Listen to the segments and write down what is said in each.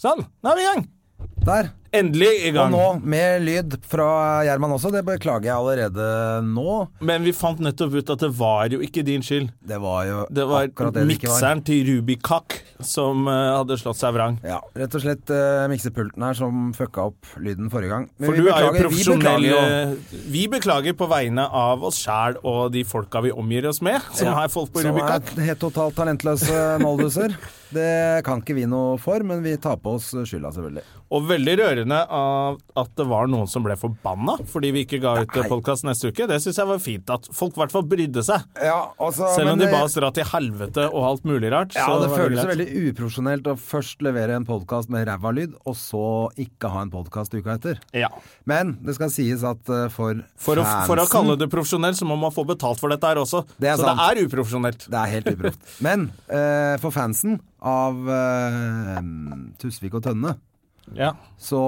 Sånn, nå er vi i gang. Der. Endelig i Og gang. nå med lyd fra Gjerman også. Det beklager jeg allerede nå. Men vi fant nettopp ut at det var jo ikke din skyld. Det var jo Det var akkurat det det ikke var. mikseren til Rubikak som eh, hadde slått seg vrang. Ja, rett og slett eh, miksepulten her som fucka opp lyden forrige gang. Men For vi du er jo beklager, vi beklager profesjonell jo. eh, Vi beklager på vegne av oss sjæl og de folka vi omgir oss med, som har folk på Som Rubikak. er helt totalt talentløse molduser. Det kan ikke vi noe for, men vi tar på oss skylda, selvfølgelig. Og veldig rørende av at det var noen som ble forbanna fordi vi ikke ga ut Nei. podkast neste uke. Det syns jeg var fint. At folk i hvert fall brydde seg. Ja, altså, Selv om men, de ba eh, oss dra til helvete og alt mulig rart. Ja, så det var føles jo greit. veldig uprofesjonelt å først levere en podkast med ræva lyd, og så ikke ha en podkast uka etter. ja. Men det skal sies at eh, for, for, å, for å fansen- kalle det profesjonelt, så må man få betalt for dette her også. Det er så sant. det er uprofesjonelt. Det er helt uproft. Men eh, for fansen av eh, Tusvik og Tønne, Ja. så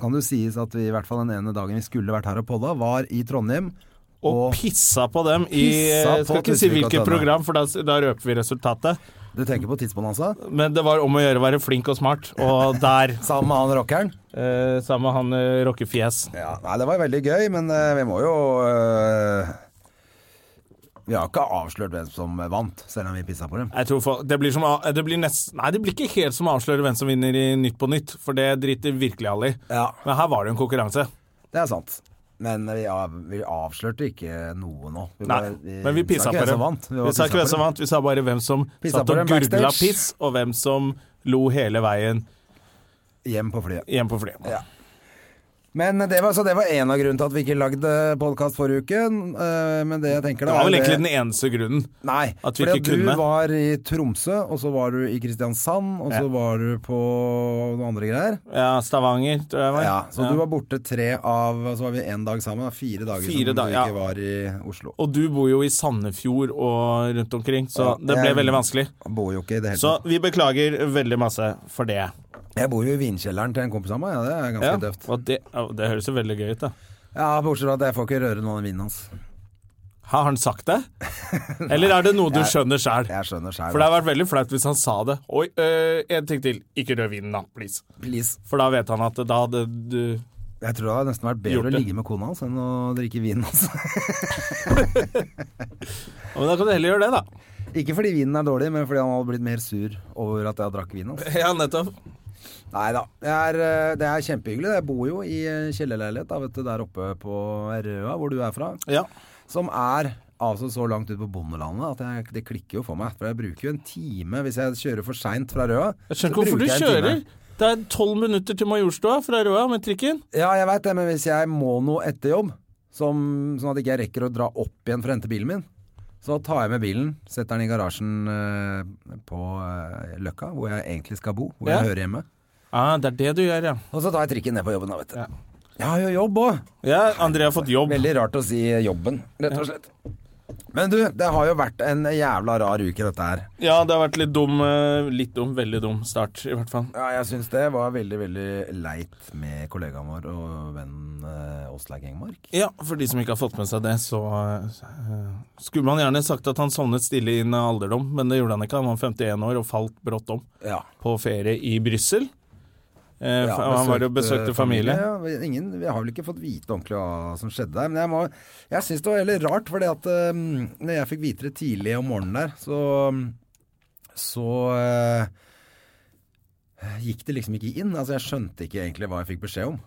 kan det jo sies at vi i hvert fall den ene dagen vi skulle vært her og podda, var i Trondheim. Og, Og pissa på dem i Pissa Jeg skal på ikke si Tusvik og hvilket Tønne. program, for da, da røper vi resultatet. du tenker på tidsbonanza? Men det var om å gjøre å være flink og smart, og der, Sammen med han rockeren? eh, sammen med han eh, rockefjes. Ja, nei, det var veldig gøy, men eh, vi må jo eh, Vi har ikke avslørt hvem som vant, selv om vi pissa på dem. Jeg tror for, det blir som å- det blir nest, Nei, det blir ikke helt som å avsløre hvem som vinner i Nytt på Nytt, for det driter virkelig alle i. Ja. Men her var det jo en konkurranse. Det er sant. Men vi, av, vi avslørte ikke noe nå. Vi Nei, bare- men vi pissa sa på ikke hvem dem. som vant. Vi, bare sa ikke pissa hvem som på dem. vant, vi sa bare hvem som Pissa satt på og dem gurgla backstage. piss, og hvem som lo hele veien Hjem på flyet. hjem på flyet. Ja. Men eh, det var, så det var en av grunnene til at vi ikke lagde podkast forrige uke. eh, Men det jeg Det tenker da var vel er egentlig den eneste grunnen. Nei, at vi fordi ikke kunne. du var i Tromsø, og så var du i Kristiansand, og så Ja. var du på noen andre greier. Ja, Stavanger, tror jeg det var. Ja, så Ja. du var borte tre av Så var vi en dag sammen. da. Fire dager Fire som dag- du ja. ikke var i Oslo. Og du bor jo i Sandefjord og rundt omkring, så Ja, det ble jeg- veldig vanskelig. Jeg bor jo ikke i det hele Så tatt. vi beklager veldig masse for det. Jeg bor jo i vinkjelleren til en kompis av meg, ja, det er ganske Ja, døvt. og det, og det høres jo veldig gøy ut, da. Ja, bortsett fra at jeg får ikke røre noen av vinen hans. Har han sagt det? Eller er det noe du skjønner sjæl? Jeg skjønner For det sjæl. hadde vært veldig flaut hvis han sa det. Oi, øh, en ting til. Ikke rød vinen, da. Please. Please. For da vet han at da hadde du Jeg tror det hadde nesten vært Gjort bedre å det. ligge med kona hans enn å drikke vinen hans. Ja, Men da kan du heller gjøre det, da. Ikke fordi vinen er dårlig, men fordi han hadde blitt mer sur over at jeg drakk vin hans. Ja, nettopp. Nei da. Det er, eh, det er kjempehyggelig. Jeg bor jo i eh, kjellerleilighet da, vet du, der oppe på Røa, hvor du er fra. Ja. Som er altså så langt ut på bondelandet at jeg, det klikker jo for meg. For jeg bruker jo en time hvis jeg kjører for seint fra Røa. Jeg så skjønner ikke hvorfor bruker du jeg en kjører. time. Det er tolv minutter til Majorstua fra Røa med trikken. Ja, jeg veit det, men hvis jeg må noe etter jobb, som, sånn at ikke jeg rekker å dra opp igjen for å hente bilen min, så tar jeg med bilen, setter den i garasjen eh, på eh, Løkka, hvor jeg egentlig skal bo, hvor Ja. jeg hører hjemme. Ah, det er det du gjør, ja. Og så tar jeg trikken ned på jobben, da, vet du. Jeg har jo jobb òg! Ja, André har fått jobb. Veldig rart å si jobben, rett og slett. Men du, det har jo vært en jævla rar uke, dette her. Ja, det har vært litt dum, eh, litt dum, veldig dum start, i hvert fall. Ja, jeg syns det var veldig, veldig leit med kollegaen vår og vennen eh, Åslaug Engmark. Ja, for de som ikke har fått med seg det, så eh, skulle man gjerne sagt at han sovnet stille inn i alderdom, men det gjorde han ikke. Han var 51 år og falt brått om Ja. på ferie i Brussel. Eh, Ja, han var og besøkte familie. Ja, vi- ingen, vi har vel ikke fått vite ordentlig hva som skjedde der. Men jeg, må, jeg syns det var veldig rart, fordi at eh, når jeg fikk vite det tidlig om morgenen der, så, så eh, gikk det liksom ikke inn. Altså, jeg skjønte ikke egentlig hva jeg fikk beskjed om.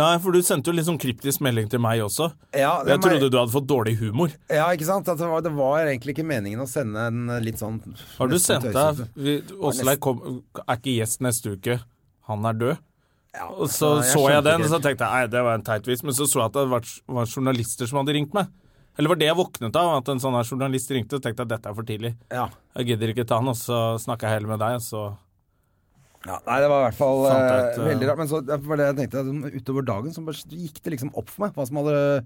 Nei, for du sendte jo litt sånn kryptisk melding til meg også. Ja, Jeg trodde du hadde fått dårlig humor. Ja, ikke sant? At det, var, det var egentlig ikke meningen å sende en litt sånn Har du nesten sendt deg tøysete. vi- Åsleik kom- er ikke gjest neste uke, han er død. Ja, Og så så altså, jeg skjønte den, ikke og så tenkte jeg nei, det var en teit vits, men så så jeg at det var, var journalister som hadde ringt meg. Eller var det jeg våknet av, at en sånn her journalist ringte og tenkte jeg, dette er for tidlig. Ja. Jeg gidder ikke ta den, og så snakka jeg heller med deg, og så Ja, nei, det var i hvert fall Fant eh, ut, eh, veldig rart. Men så det var det jeg tenkte, at sånn utover dagen så bare gikk det liksom opp for meg hva som hadde,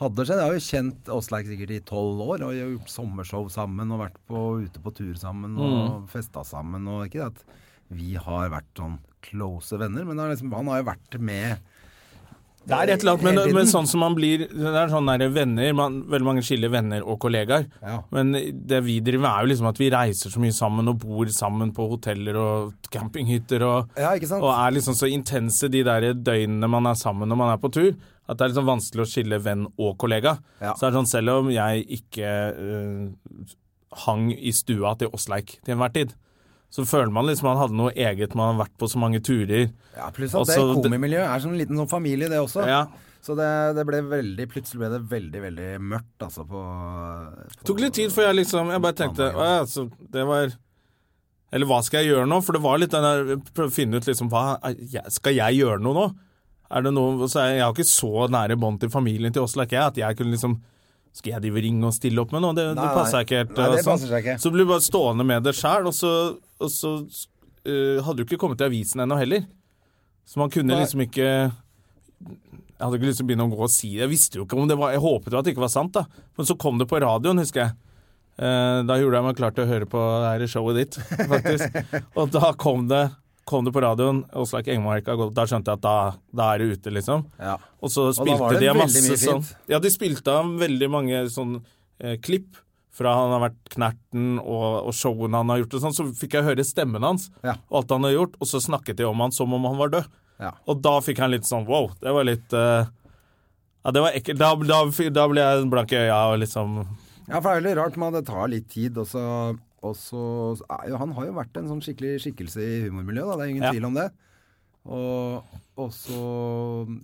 hadde skjedd. Jeg har jo kjent Åsleik sikkert i tolv år, og jeg har gjort sommershow sammen og vært på, ute på tur sammen og Mm. festa sammen. Og ikke det at vi har vært sånn close venner, men det er liksom, han har jo vært med Det er et eller annet, men, Hele tiden. men sånn som man blir Det er sånn der venner man, Veldig mange skiller venner og kollegaer. Ja. Men det vi driver med, er jo liksom at vi reiser så mye sammen og bor sammen på hoteller og campinghytter og, Ja, ikke sant? og er liksom så intense de der døgnene man er sammen når man er på tur, at det er liksom vanskelig å skille venn og kollega. Ja. Så det er sånn selv om jeg ikke eh, hang i stua til Åsleik til enhver tid, så føler man liksom man hadde noe eget, man har vært på så mange turer. Ja, Pluss at sånn- Også det det- komimiljøet er som en liten sånn familie, det også. Ja. Så det, det ble veldig, plutselig ble det veldig, veldig mørkt, altså, på, på Det tok litt tid før jeg liksom Jeg bare tenkte «Å ja, så det var Eller hva skal jeg gjøre nå? For det var litt den der Prøve å finne ut liksom hva er jeg- Skal jeg gjøre noe nå? Er det noe så jeg, jeg har ikke så nære bånd til familien til Åsleik, jeg, at jeg kunne liksom Skal jeg drive og ringe og stille opp med noe? Det, det Nei, passer nei. jeg ikke helt. Nei, og det sånn. passer seg ikke. Så ble du bare stående med det sjæl, og så, og så eh, hadde du ikke kommet til avisen ennå heller. Så man kunne Nei. liksom ikke Jeg hadde ikke lyst til å begynne å gå og si det. Jeg visste jo ikke om det var Jeg håpet jo at det ikke var sant, da. Men så kom det på radioen, husker jeg. Eh, Da gjorde jeg meg klar til å høre på det her showet ditt, faktisk. Og da kom det, kom det på radioen. Åslaug Engmark har gått Da skjønte jeg at da, da er det ute, liksom. Ja. Og så da spilte var det de av veldig masse mye sånn fint. Ja, de spilte av veldig mange sånn eh, klipp fra han har vært Knerten og, og showene han har gjort og sånn. Så fikk jeg høre stemmen hans Ja. og alt han har gjort, og så snakket de om han som om han var død. Ja. Og da fikk han litt sånn wow, det var litt eh, Ja, det var ekkelt. Da, da, da ble jeg blank i øya og liksom Ja, for det er veldig rart, men det tar litt tid, og så, og så er jo, Han har jo vært en sånn skikkelig skikkelse i humormiljøet, da, det er ingen Ja. tvil om det. Og, og så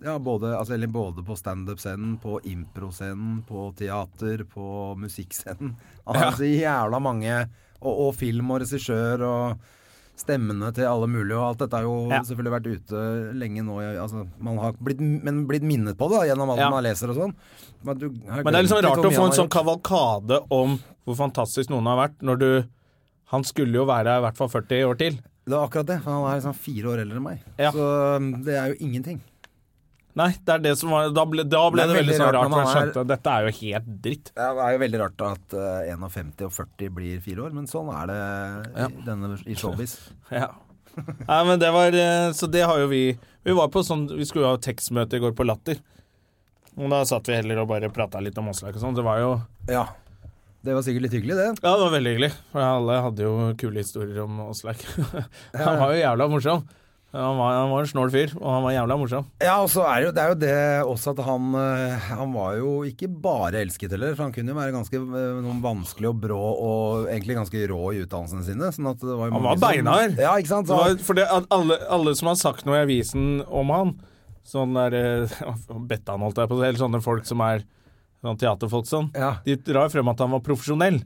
Ja, både, altså, eller både på standup-scenen, på impro-scenen, på teater, på musikkscenen. Han har så jævla mange Og, og film og regissør og stemmene til alle mulige, og alt dette har jo Ja. selvfølgelig vært ute lenge nå. jeg- Altså, man har blitt, men blitt minnet på det da, gjennom alt Ja. man leser og sånn. Men, du har Men det er liksom glemt litt rart hvor å mye få en han har sånn gjort. kavalkade om hvor fantastisk noen har vært, når du Han skulle jo være i hvert fall 40 år til. Det er akkurat det. for Han er liksom fire år eldre enn meg. Ja. Så um, det er jo ingenting. Nei, det er det som var Da ble, da ble det, Det er veldig, veldig sånn rart rart, for jeg når man er- skjønte at dette er jo helt dritt. Det er jo veldig rart at eh, 51 og 40 blir fire år, men sånn er det i, denne, i showbiz. Ja. Nei, men det var eh, Så det har jo vi Vi var på sånn Vi skulle jo ha tekstmøte i går på Latter. Og da satt vi heller og bare prata litt om Åslaug og sånn. Det var jo Ja. Det var sikkert litt hyggelig, det. Ja, det var veldig hyggelig. For alle hadde jo kule historier om Åslaug. han var jo jævla morsom. Han var, han var en snål fyr, og han var jævla morsom. Ja, og så er det jo det, er jo det også at han eh, Han var jo ikke bare elsket heller, for han kunne jo være ganske eh, noen vanskelig og brå og egentlig ganske rå i utdannelsene sine. Sånn at det var jo Han mange var som- beinhard. Ja, ikke sant? Det Så, var, for det, at alle, alle som har sagt noe i avisen om han, sånn der eh, Bedt han, holdt jeg på å si, eller sånne folk som er sånn teaterfolk sånn, Ja. de drar frem at han var profesjonell.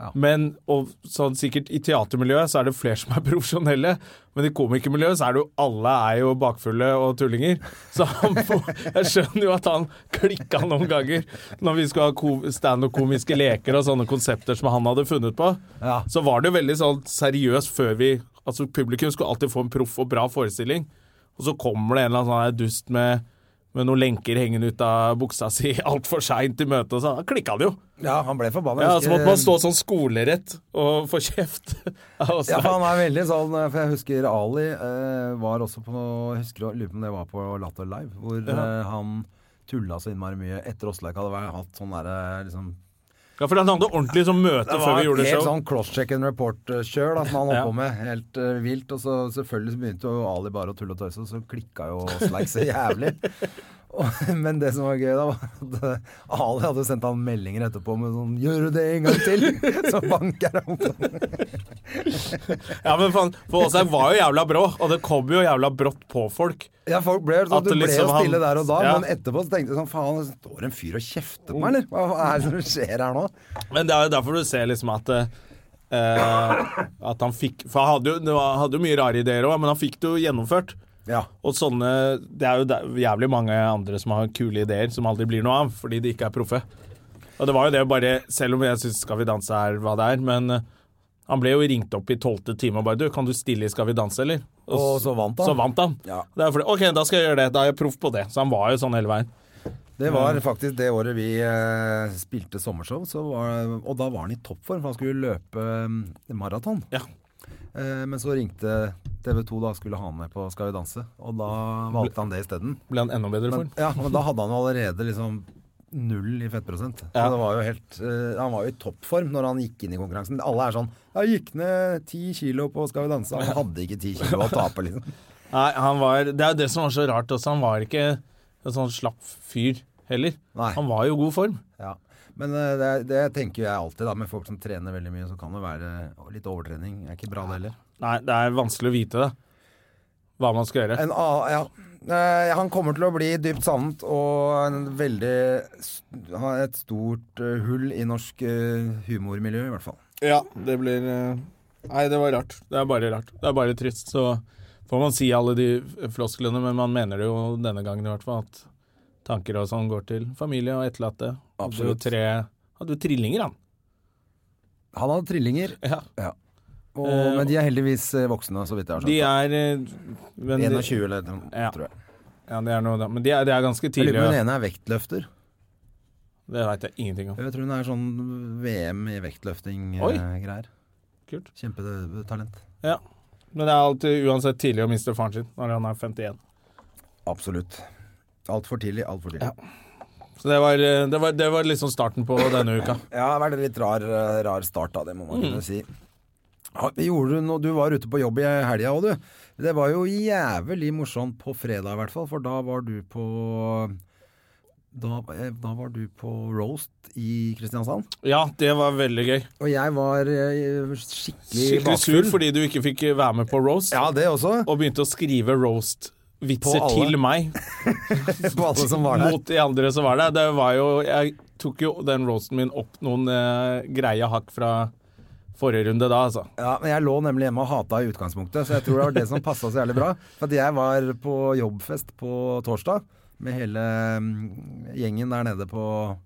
Ja. Men og sånn sikkert i teatermiljøet så er det flere som er profesjonelle, men i komikermiljøet så er det jo alle er jo bakfulle og tullinger. Så han får, jeg skjønner jo at han klikka noen ganger når vi skulle ha ko- standup-komiske leker og sånne konsepter som han hadde funnet på. Ja. Så var det jo veldig sånn seriøst før vi Altså publikum skulle alltid få en proff og bra forestilling, og så kommer det en eller annen sånn her dust med med noen lenker hengende ut av buksa si altfor seint i møtet, og så Da klikka det jo. ja, han ble forbanna. Ja, Så Jeg husker- måtte man stå sånn skolerett og få kjeft. Og så- Ja, for han er veldig sånn eh, For jeg husker Ali eh, var også på Jeg husker, jeg lurer på om det var på Latter Live, hvor eh, han tulla så innmari mye etter Åsleik hadde vært, hatt sånn derre liksom Ja, for han hadde ordentlig sånn møte Det før var vi gjorde helt show. sånn cross-check and report-kjør da, som han holdt Ja. på med. Helt eh, vilt. Og så selvfølgelig så begynte jo Ali bare å tulle og tøyse, og så klikka jo Slack så jævlig. Og, men det som var gøy, da, var at eh, Ali hadde jo sendt han meldinger etterpå med sånn 'Gjør du det en gang til?' Så banker han opp. Ja, men faen, For Åsheim var jo jævla brå, og det kom jo jævla brått på folk. Ja, folk ble, så At du det ble jo liksom han- stille der og da, Ja. men etterpå så tenkte jeg sånn Faen, det står en fyr og kjefter på meg, eller? Hva er det som skjer her nå? Men det er jo derfor du ser liksom at eh, eh, At han fikk For han hadde jo, det var, hadde jo mye rare ideer òg, men han fikk det jo gjennomført. Ja. Og sånne Det er jo der, jævlig mange andre som har kule ideer som aldri blir noe av, fordi de ikke er proffe. Og det var jo det bare Selv om jeg syns Skal vi danse er hva det er, men eh, Han ble jo ringt opp i tolvte time og bare 'Du, kan du stille i Skal vi danse', eller? Og så vant han. Så vant han. Ja. Det er fordi, OK, da skal jeg gjøre det. Da er jeg proff på det. Så han var jo sånn hele veien. Det var Mm. faktisk det året vi eh, spilte sommershow, så var, og da var han i toppform, for han skulle løpe eh, maraton. Ja. Eh, men så ringte TV 2 da skulle ha han med på Skal vi danse, og da valgte han det isteden. Ble han enda bedre Men, form. ja, men da hadde han jo allerede liksom null i fettprosent. Så Ja. det var jo helt eh, Han var jo i toppform når han gikk inn i konkurransen. Alle er sånn Ja, gikk ned ti kilo på Skal vi danse. Han hadde ikke ti kilo å tape, liksom. Nei, han var Det er jo det som var så rart også. Han var ikke en sånn slapp fyr heller. Nei. Han var jo i god form. Ja. Men eh, det, det tenker jeg alltid, da, med folk som trener veldig mye, så kan det være å, litt overtrening. Er ikke bra, det heller. Nei, det er vanskelig å vite det. Hva man skal gjøre. En annen Ja. Eh, han kommer til å bli dypt savnet og en veldig s- ha et stort eh, hull i norsk eh, humormiljø, i hvert fall. Ja, det blir eh, Nei, det var rart. Det er bare rart. Det er bare trist. Så får man si alle de flosklene, men man mener det jo denne gangen i hvert fall, at tanker og sånn går til familie og etterlatte. Hadde jo Absolutt. tre Hadde jo trillinger, han. Han hadde trillinger, Ja. og, Eh, men de er heldigvis eh, voksne, så vidt jeg har De skjønt. er eh, men de- 21 eller noe, Ja. tror jeg. Ja, det er noe, da. Men de er, de er ganske Jeg lurer på om tidlige. den ene er vektløfter. Det veit jeg ingenting om. Jeg tror hun er sånn VM i Oi. vektløfting-greier. Kult. Kjempetalent. Ja. Men det er alltid uansett tidlig å miste faren sin når han er 51. Absolutt. Altfor tidlig, altfor tidlig. Ja. Så det var, eh, det var, det var liksom starten på denne uka. Ja, det har vært en litt rar, eh, rar start da, det må man kunne si. Mm. Ja, det gjorde du når du var ute på jobb i helga òg, du. Det var jo jævlig morsomt på fredag i hvert fall, for da var du på da, eh, da var du på roast i Kristiansand. Ja, det var veldig gøy. Og jeg var eh, skikkelig, Skikkelig bakfull. sur fordi du ikke fikk være med på roast, Ja, det også. og begynte å skrive roast-vitser På alle. til meg På alle som var der. mot de andre som var der. Det var jo Jeg tok jo den roasten min opp noen eh, greie hakk fra forrige runde da, altså. Ja, men jeg lå nemlig hjemme og hata i utgangspunktet, så jeg tror det var det som passa så jævlig bra. For at jeg var på jobbfest på torsdag med hele mm, gjengen der nede på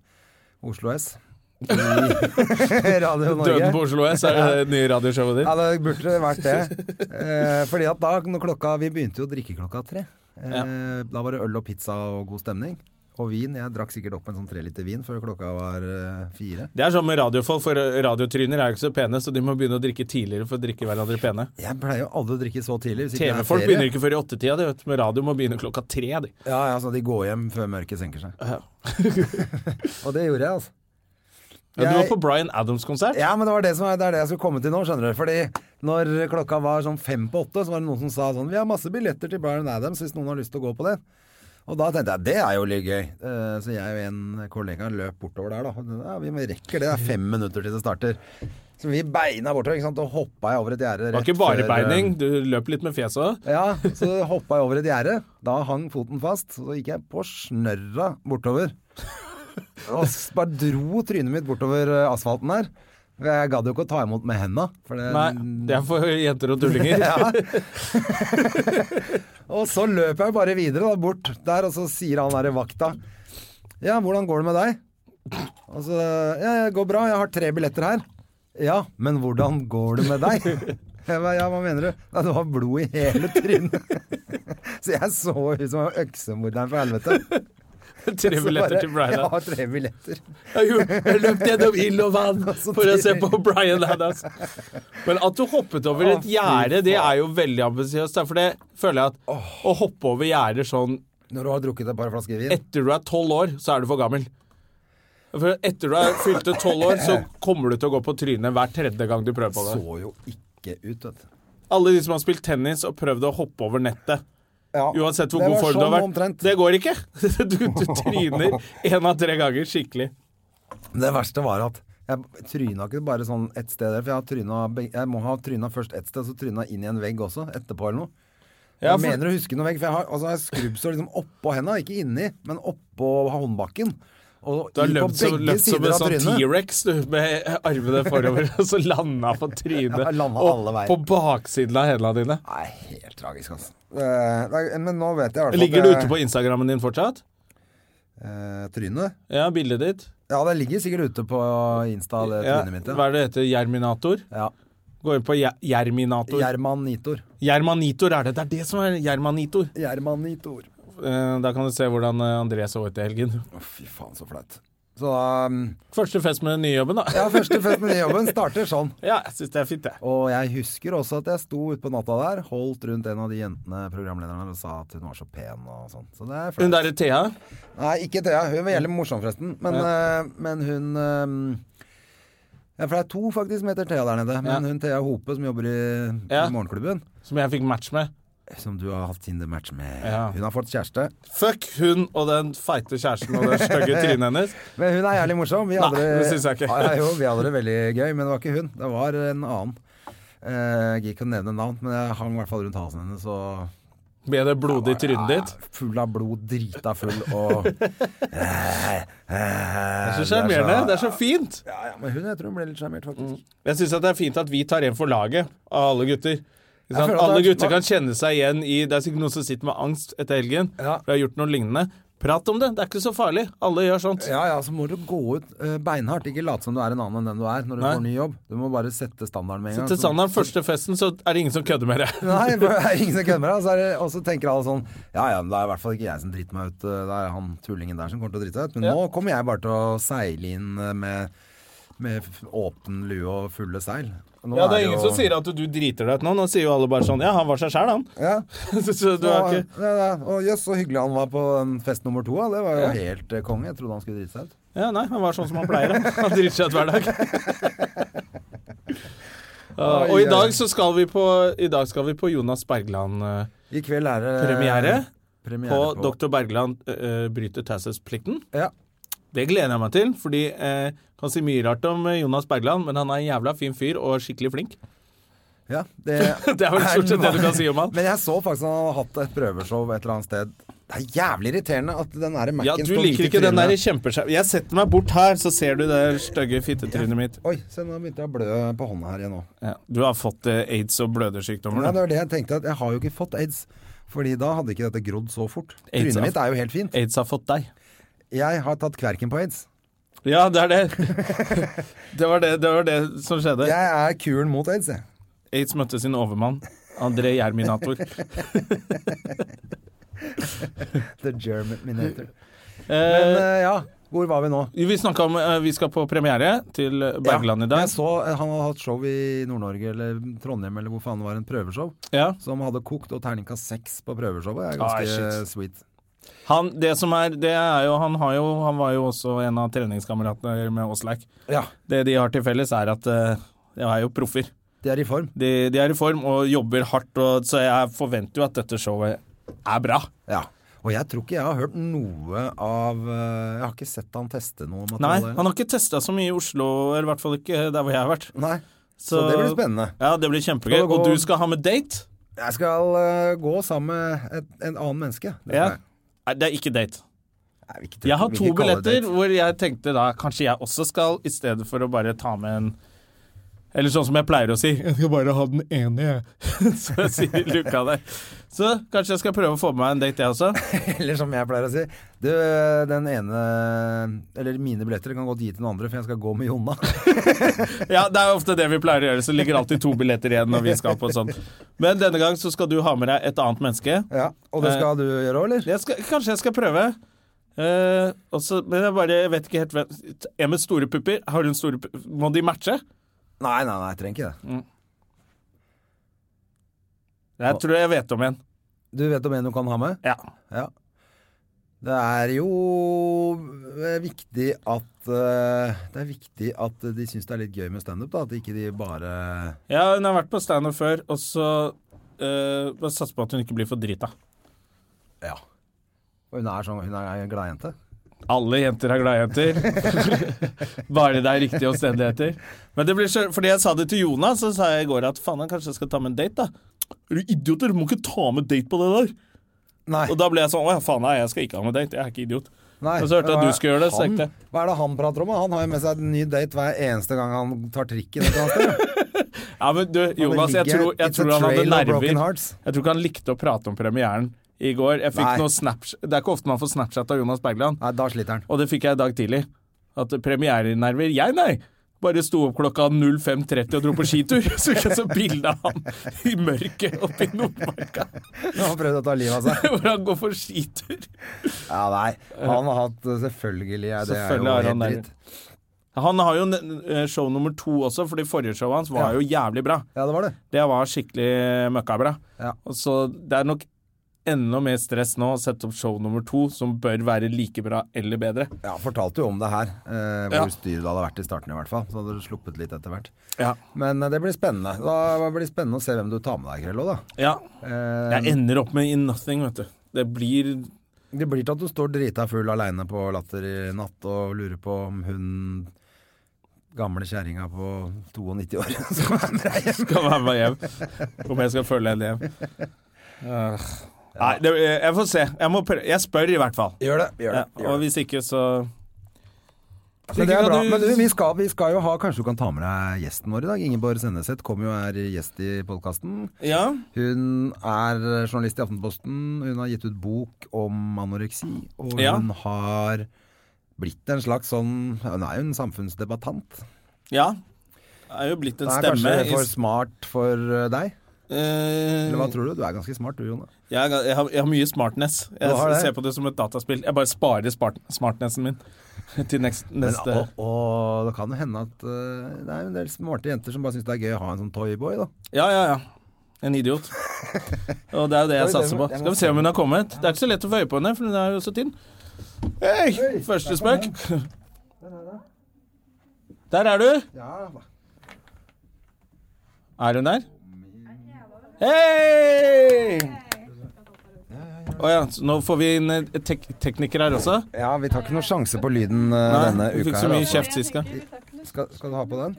Oslo S. I Radio Norge. Døden på Oslo S er det nye radioshowet ditt. Ja, det burde vært det. Eh, fordi at da når klokka Vi begynte jo å drikke klokka tre. Eh, Da var det øl og pizza og god stemning. Og vin. Jeg drakk sikkert opp en sånn tre liter vin før klokka var eh, fire. Det er sånn med radiofolk, for radiotryner er jo ikke så pene, så de må begynne å drikke tidligere for å drikke hverandre pene. Jeg pleier jo aldri å drikke så tidlig. hvis ikke det er TV-folk ferie. begynner ikke før i åttetida, de vet du, men radio må begynne klokka tre. De. Ja, ja, så de går hjem før mørket senker seg. Ja. Og det gjorde jeg, altså. Ja, du var Jeg- på Bryan Adams-konsert. Ja, men det, var det, som, er- det er det jeg skulle komme til nå, skjønner du. Fordi når klokka var sånn fem på åtte, så var det noen som sa sånn Vi har masse billetter til Bryan Adams hvis noen har lyst til å gå på det. Og da tenkte jeg det er jo litt gøy. Eh, Så jeg og en kollega løp bortover der, da. Ja, vi rekker det. Det er fem minutter til det starter. Så vi beina bortover, ikke sant. Og hoppa jeg over et gjerde. Det var ikke bare eh, beining, du løp litt med fjeset òg. Ja, så hoppa jeg over et gjerde. Da hang foten fast. Så gikk jeg på snørra bortover. Og s- bare dro trynet mitt bortover eh, asfalten der. For Jeg gadd jo ikke å ta imot med henda. For det, Nei, det er for jenter og tullinger. Og så løp jeg bare videre da, bort der, og så sier han derre vakta Ja, hvordan går det med deg? Og så Ja, det går bra, jeg har tre billetter her. Ja, men hvordan går det med deg? Jeg ba, ja, hva mener du? Nei, det var blod i hele trynet. Så jeg så ut som øksemorderen fra helvete. Tre billetter til Bryan Ja, Adams. tre billetter. Jeg gjorde- jeg løp gjennom ild og vann Altså, for å se på Bryan Adams. Men at du hoppet over Å, et fy gjerde, det er jo veldig ambisiøst. da, For det føler jeg at å hoppe over gjerder sånn Når du har drukket et par flasker vin. etter du er tolv år, så er du for gammel. For etter du er fylte tolv år, så kommer du til å gå på trynet hver tredje gang du prøver på det. Så jo ikke ut, vet du. Alle de som har spilt tennis og prøvd å hoppe over nettet, Ja, uansett hvor Ah, god det var form du har sånn vært, omtrent. det går ikke. Du, du tryner én av tre ganger skikkelig. Det verste var at jeg tryna ikke bare sånn ett sted der, for jeg, har tryna, beg- jeg må ha tryna først ett sted, så tryna inn i en vegg også, etterpå eller noe. Jeg Ja, for- mener å huske noe vegg, for jeg har, altså, jeg har skrubbsår liksom oppå henda, ikke inni, men oppå håndbakken. Og Du har i- på løpt som, begge løpt som sider en av sånn trynet. T-rex du, med armene forover, og så landa på trynet Ja, landa alle og veier. på baksiden av hendene dine. Nei, helt tragisk, altså. Eh, nei, men nå vet jeg i hvert fall Ligger du ute på Instagrammen din fortsatt? eh, Trynet? Ja, bildet ditt. Ja, det ligger sikkert ute på Insta, det Ja, trynet mitt. hva Ja. er det det heter? Jerminator? Ja. Gå inn på Jer- Jerminator. Jermanitor. Jermanitor er det. Det er det som er Jermanitor. Jermanitor. Eh, Da kan du se hvordan eh, André så ut i helgen. Å, fy faen, så flaut. Så da um, Første fest med den nye jobben, da. Ja, første fest med jobben starter sånn. Ja, jeg syns det er fint, det. Og jeg husker også at jeg sto ute på natta der, holdt rundt en av de jentene programlederne og sa at hun var så pen og sånn. Så det er Hun flaut. derre Thea. Nei, ikke Thea. Hun var jævlig morsom, forresten. Men, eh, men hun eh, Ja, for det er to faktisk som heter Thea der nede. Men Ja. hun Thea Hope som jobber i, Ja. i Morgenklubben, Som jeg fikk match med. som du har hatt Tinder-match med, Ja. hun har fått kjæreste. Fuck hun og den feite kjæresten og det stygge trynet hennes. Men hun er jævlig morsom. Vi Nei, hadde det synes jeg ikke. Ja, jo, vi hadde det veldig gøy, men det var ikke hun. Det var en annen. Eh, Jeg gikk ikke å nevne navn, men jeg hang i hvert fall rundt halsen hennes og Med det blodige trynet Ja, ditt. Full av blod, drita full og Det Det er er så sjarmerende. Det er så Mm. fint. Ja, ja, men hun, jeg tror hun ble litt sjarmert, faktisk. Jeg syns det er fint at vi tar en for laget av alle gutter. Ikke sant? føler at Alle det er- gutter kan kjenne seg igjen i Det er sikkert noen som sitter med angst etter helgen. Ja. For de har gjort noe lignende. Prat om det. Det er ikke så farlig. Alle gjør sånt. Ja, ja, så må du gå ut eh, beinhardt. Ikke late som du er en annen enn den du er når du Nei. får ny jobb. Du må bare sette standarden med en gang. Til Sanna, første festen, så er det ingen som kødder med deg. Nei, for det er ingen som kødder med deg. Og så er det- Og så tenker alle sånn Ja ja, men det er i hvert fall ikke jeg som driter meg ut. eh, Det er han tullingen der som kommer til å drite seg ut. Men Ja. nå kommer jeg bare til å seile inn eh, med, med f- åpen lue og fulle seil. Nå Ja, det er ingen jo- som sier at du driter deg ut nå. Nå sier jo alle bare sånn Ja, han var seg sjæl, han. ja. Så- Så du er ikke Ja, ja. Og jøss, så hyggelig han var på den fest nummer to. da. Det var jo helt eh, konge. Jeg trodde han skulle drite seg ut. Ja, nei, han var sånn som han pleier. han. Han driter seg ut hver dag. Ja, og i dag så skal vi på I dag skal vi på Jonas eh, Bergland-premiere I kveld er det Eh, premiere på Dr. Bergland eh, bryter taushetsplikten. Ja. Det gleder jeg meg til, fordi eh, kan si mye rart om eh, Jonas Bergland, men han er en jævla fin fyr og skikkelig flink. ja det, Det er vel stort sett det du kan si om han. Men jeg så faktisk han hadde hatt et prøveshow et eller annet sted. Det er jævlig irriterende at den der Mac-en Ja, du står midt i liker ikke den der trynet. kjempeskjermen Jeg setter meg bort her, så ser du det stygge fittetrynet mitt. Oi, se nå begynte jeg å blø på hånda her igjen nå. Ja. Du har fått eh, aids og Ja, blødersykdommer, det du. var det jeg tenkte, at jeg har jo ikke fått aids. Fordi da hadde ikke dette grodd så fort. Aids, Trynet ja. mitt er jo helt fint. Aids har fått deg. Jeg har tatt kverken på aids. Ja, det er det. Det var det, det, var det som skjedde. Jeg er kuren mot aids, jeg. Aids møtte sin overmann, André Gjerminator. The German Minator. Men Eh, eh, ja, hvor var vi nå? vi snakka om eh, vi skal på premiere til Bergland i Ja, dag. jeg så eh, han hadde hatt show i Nord-Norge eller Trondheim eller hvor faen det var, en prøveshow. Ja. Som hadde kokt og terningkast seks på prøveshowet. Det er Ah, ganske shit. sweet. Han, det som er, det er jo, han, har jo, han var jo også en av treningskameratene med Åsleik. Ja, Det de har til felles, er at eh, de er jo proffer. de er i form. De, de er i form og jobber hardt, og, så jeg forventer jo at dette showet er bra. Ja. Og jeg tror ikke jeg har hørt noe av eh, Jeg har ikke sett han teste noe Nei, materiale. han har ikke testa så mye i Oslo, eller i hvert fall ikke der hvor jeg har vært. Nei. Så det blir spennende. Ja, det blir kjempegøy. Skal det gå- Og du skal ha med date? Jeg skal eh, gå sammen med et, en annen menneske. Det skal Ja. jeg. Nei, det er ikke date. Nei, vi ikke- Jeg har vi to ikke kalle det billetter date. hvor jeg tenkte da kanskje jeg også skal, i stedet for å bare ta med en Eller sånn som jeg pleier å si, jeg skal bare ha den ene, jeg. så sier Luka det. Så kanskje jeg skal prøve å få med meg en date, jeg også. Eller som jeg pleier å si. Du, den ene Eller mine billetter kan godt gi til den andre, for jeg skal gå med Jonna. Ja, det er jo ofte det vi pleier å gjøre, så det ligger alltid to billetter igjen når vi skal på sånt. Men denne gang så skal du ha med deg et annet menneske. Ja, Og Eh. det skal du gjøre òg, eller? Jeg skal, kanskje jeg skal prøve. Eh, og så- men jeg bare jeg vet ikke helt hvem En med store pupper, har hun store pupper? Må de matche? Nei, nei, nei, jeg trenger ikke det. Jeg tror jeg vet om en. Du vet om en du kan ha med? Ja. Ja. Det er jo eh, viktig at eh, Det er viktig at de syns det er litt gøy med standup, da. At ikke de bare Ja, hun har vært på standup før, og så uh, bare satser på at hun ikke blir for drita. Ja. Og hun er sånn Hun er ei gladjente. Alle jenter er glade jenter. Bare det er riktige omstendigheter. Men det blir så, fordi jeg sa det til Jonas, så sa jeg i går at faen, jeg kanskje skal ta med en date, da. Er du idiot? Dere må ikke ta med date på det der. Nei. Og da ble jeg sånn, å ja, faen, nei, jeg skal ikke ha med date. Jeg er ikke idiot. Nei, Og så hørte jeg at hva du er skulle gjøre det, så han- tenkte jeg. Hva er det han prater om? da? Han har jo med seg en ny date hver eneste gang han tar trikken. et eller annet sted. Ja, men du, Jonas, jeg ligger- tror, jeg it's a tror han hadde trail of broken nerver. hearts. Jeg tror ikke han likte å prate om premieren i går. Jeg fikk Nei. noe Snapchat Det er ikke ofte man får Snapchat av Jonas Bergland. Nei, da sliter han. Og det fikk jeg i dag tidlig. At premierenerver Jeg, nei! bare sto opp klokka 05.30 og dro på skitur. Så ikke jeg så bilde av han i mørket oppe i Nordmarka, Han har prøvd å ta livet av seg. hvor han går for skitur. Ja, nei. Han har hatt eh, Selvfølgelig er det Selvfølgelig er er jo han helt der. dritt. Han har jo n- eh, show nummer to også, fordi forrige showet hans var Ja. jo jævlig bra. Ja, det var det. Det var skikkelig møkkabra. Ja. Og Så det er nok enda mer stress nå å sette opp show nummer to, som bør være like bra eller bedre. Ja, fortalte jo om det her, eh, Ja. hvor styret det hadde vært i starten i hvert fall. Så hadde det sluppet litt etter hvert. Ja. Men eh, det blir spennende. Da blir det spennende å se hvem du tar med deg, Krello, da. ja. Eh, Jeg ender opp med in nothing, vet du. Det blir Det blir til at du står drita full aleine på Latter i natt og lurer på om hun gamle kjerringa på 92 år som er med deg hjem. Skal være med hjem. Om jeg skal følge henne hjem. Øh. Nei, det, jeg får se. Jeg, må prø- jeg spør i hvert fall. Gjør det. Gjør det. Ja, og hvis ikke, så Men det Ikke er kan bra. du- Men du, vi skal, vi skal jo ha Kanskje du kan ta med deg gjesten vår i dag? Ingeborg Senneset kom jo og er gjest i podkasten. Ja. Hun er journalist i Aftenposten. Hun har gitt ut bok om anoreksi, og Ja. hun har blitt en slags sånn Hun er jo en samfunnsdebattant. Ja. Det er jo blitt en Hun er stemme. kanskje i- for smart for eh, deg? Eh, Eller hva tror du? Du er ganske smart du, Jone. jeg, er ga- jeg, har, jeg har mye smartness. Jeg Du har det? ser på det som et dataspill. Jeg bare sparer smart, smartnessen min til neks- Men, neste og, og det kan jo hende at eh, det er en del smarte jenter som bare syns det er gøy å ha en sånn toyboy, da. Ja, ja, ja. En idiot. Og det er jo det jeg satser på. Skal vi se om hun har kommet. Det er ikke så lett å få øye på henne, for hun er jo så tynn. Hei! Første spøk. Der er du. Er hun der? Hei! Å ja, så nå får vi inn eh, tek tekniker her også. Ja, vi tar ikke noen sjanse på lyden eh, denne Nei, vi uka fikk så her. mye Altså. kjeft sist gang. Skal, skal du ha på den?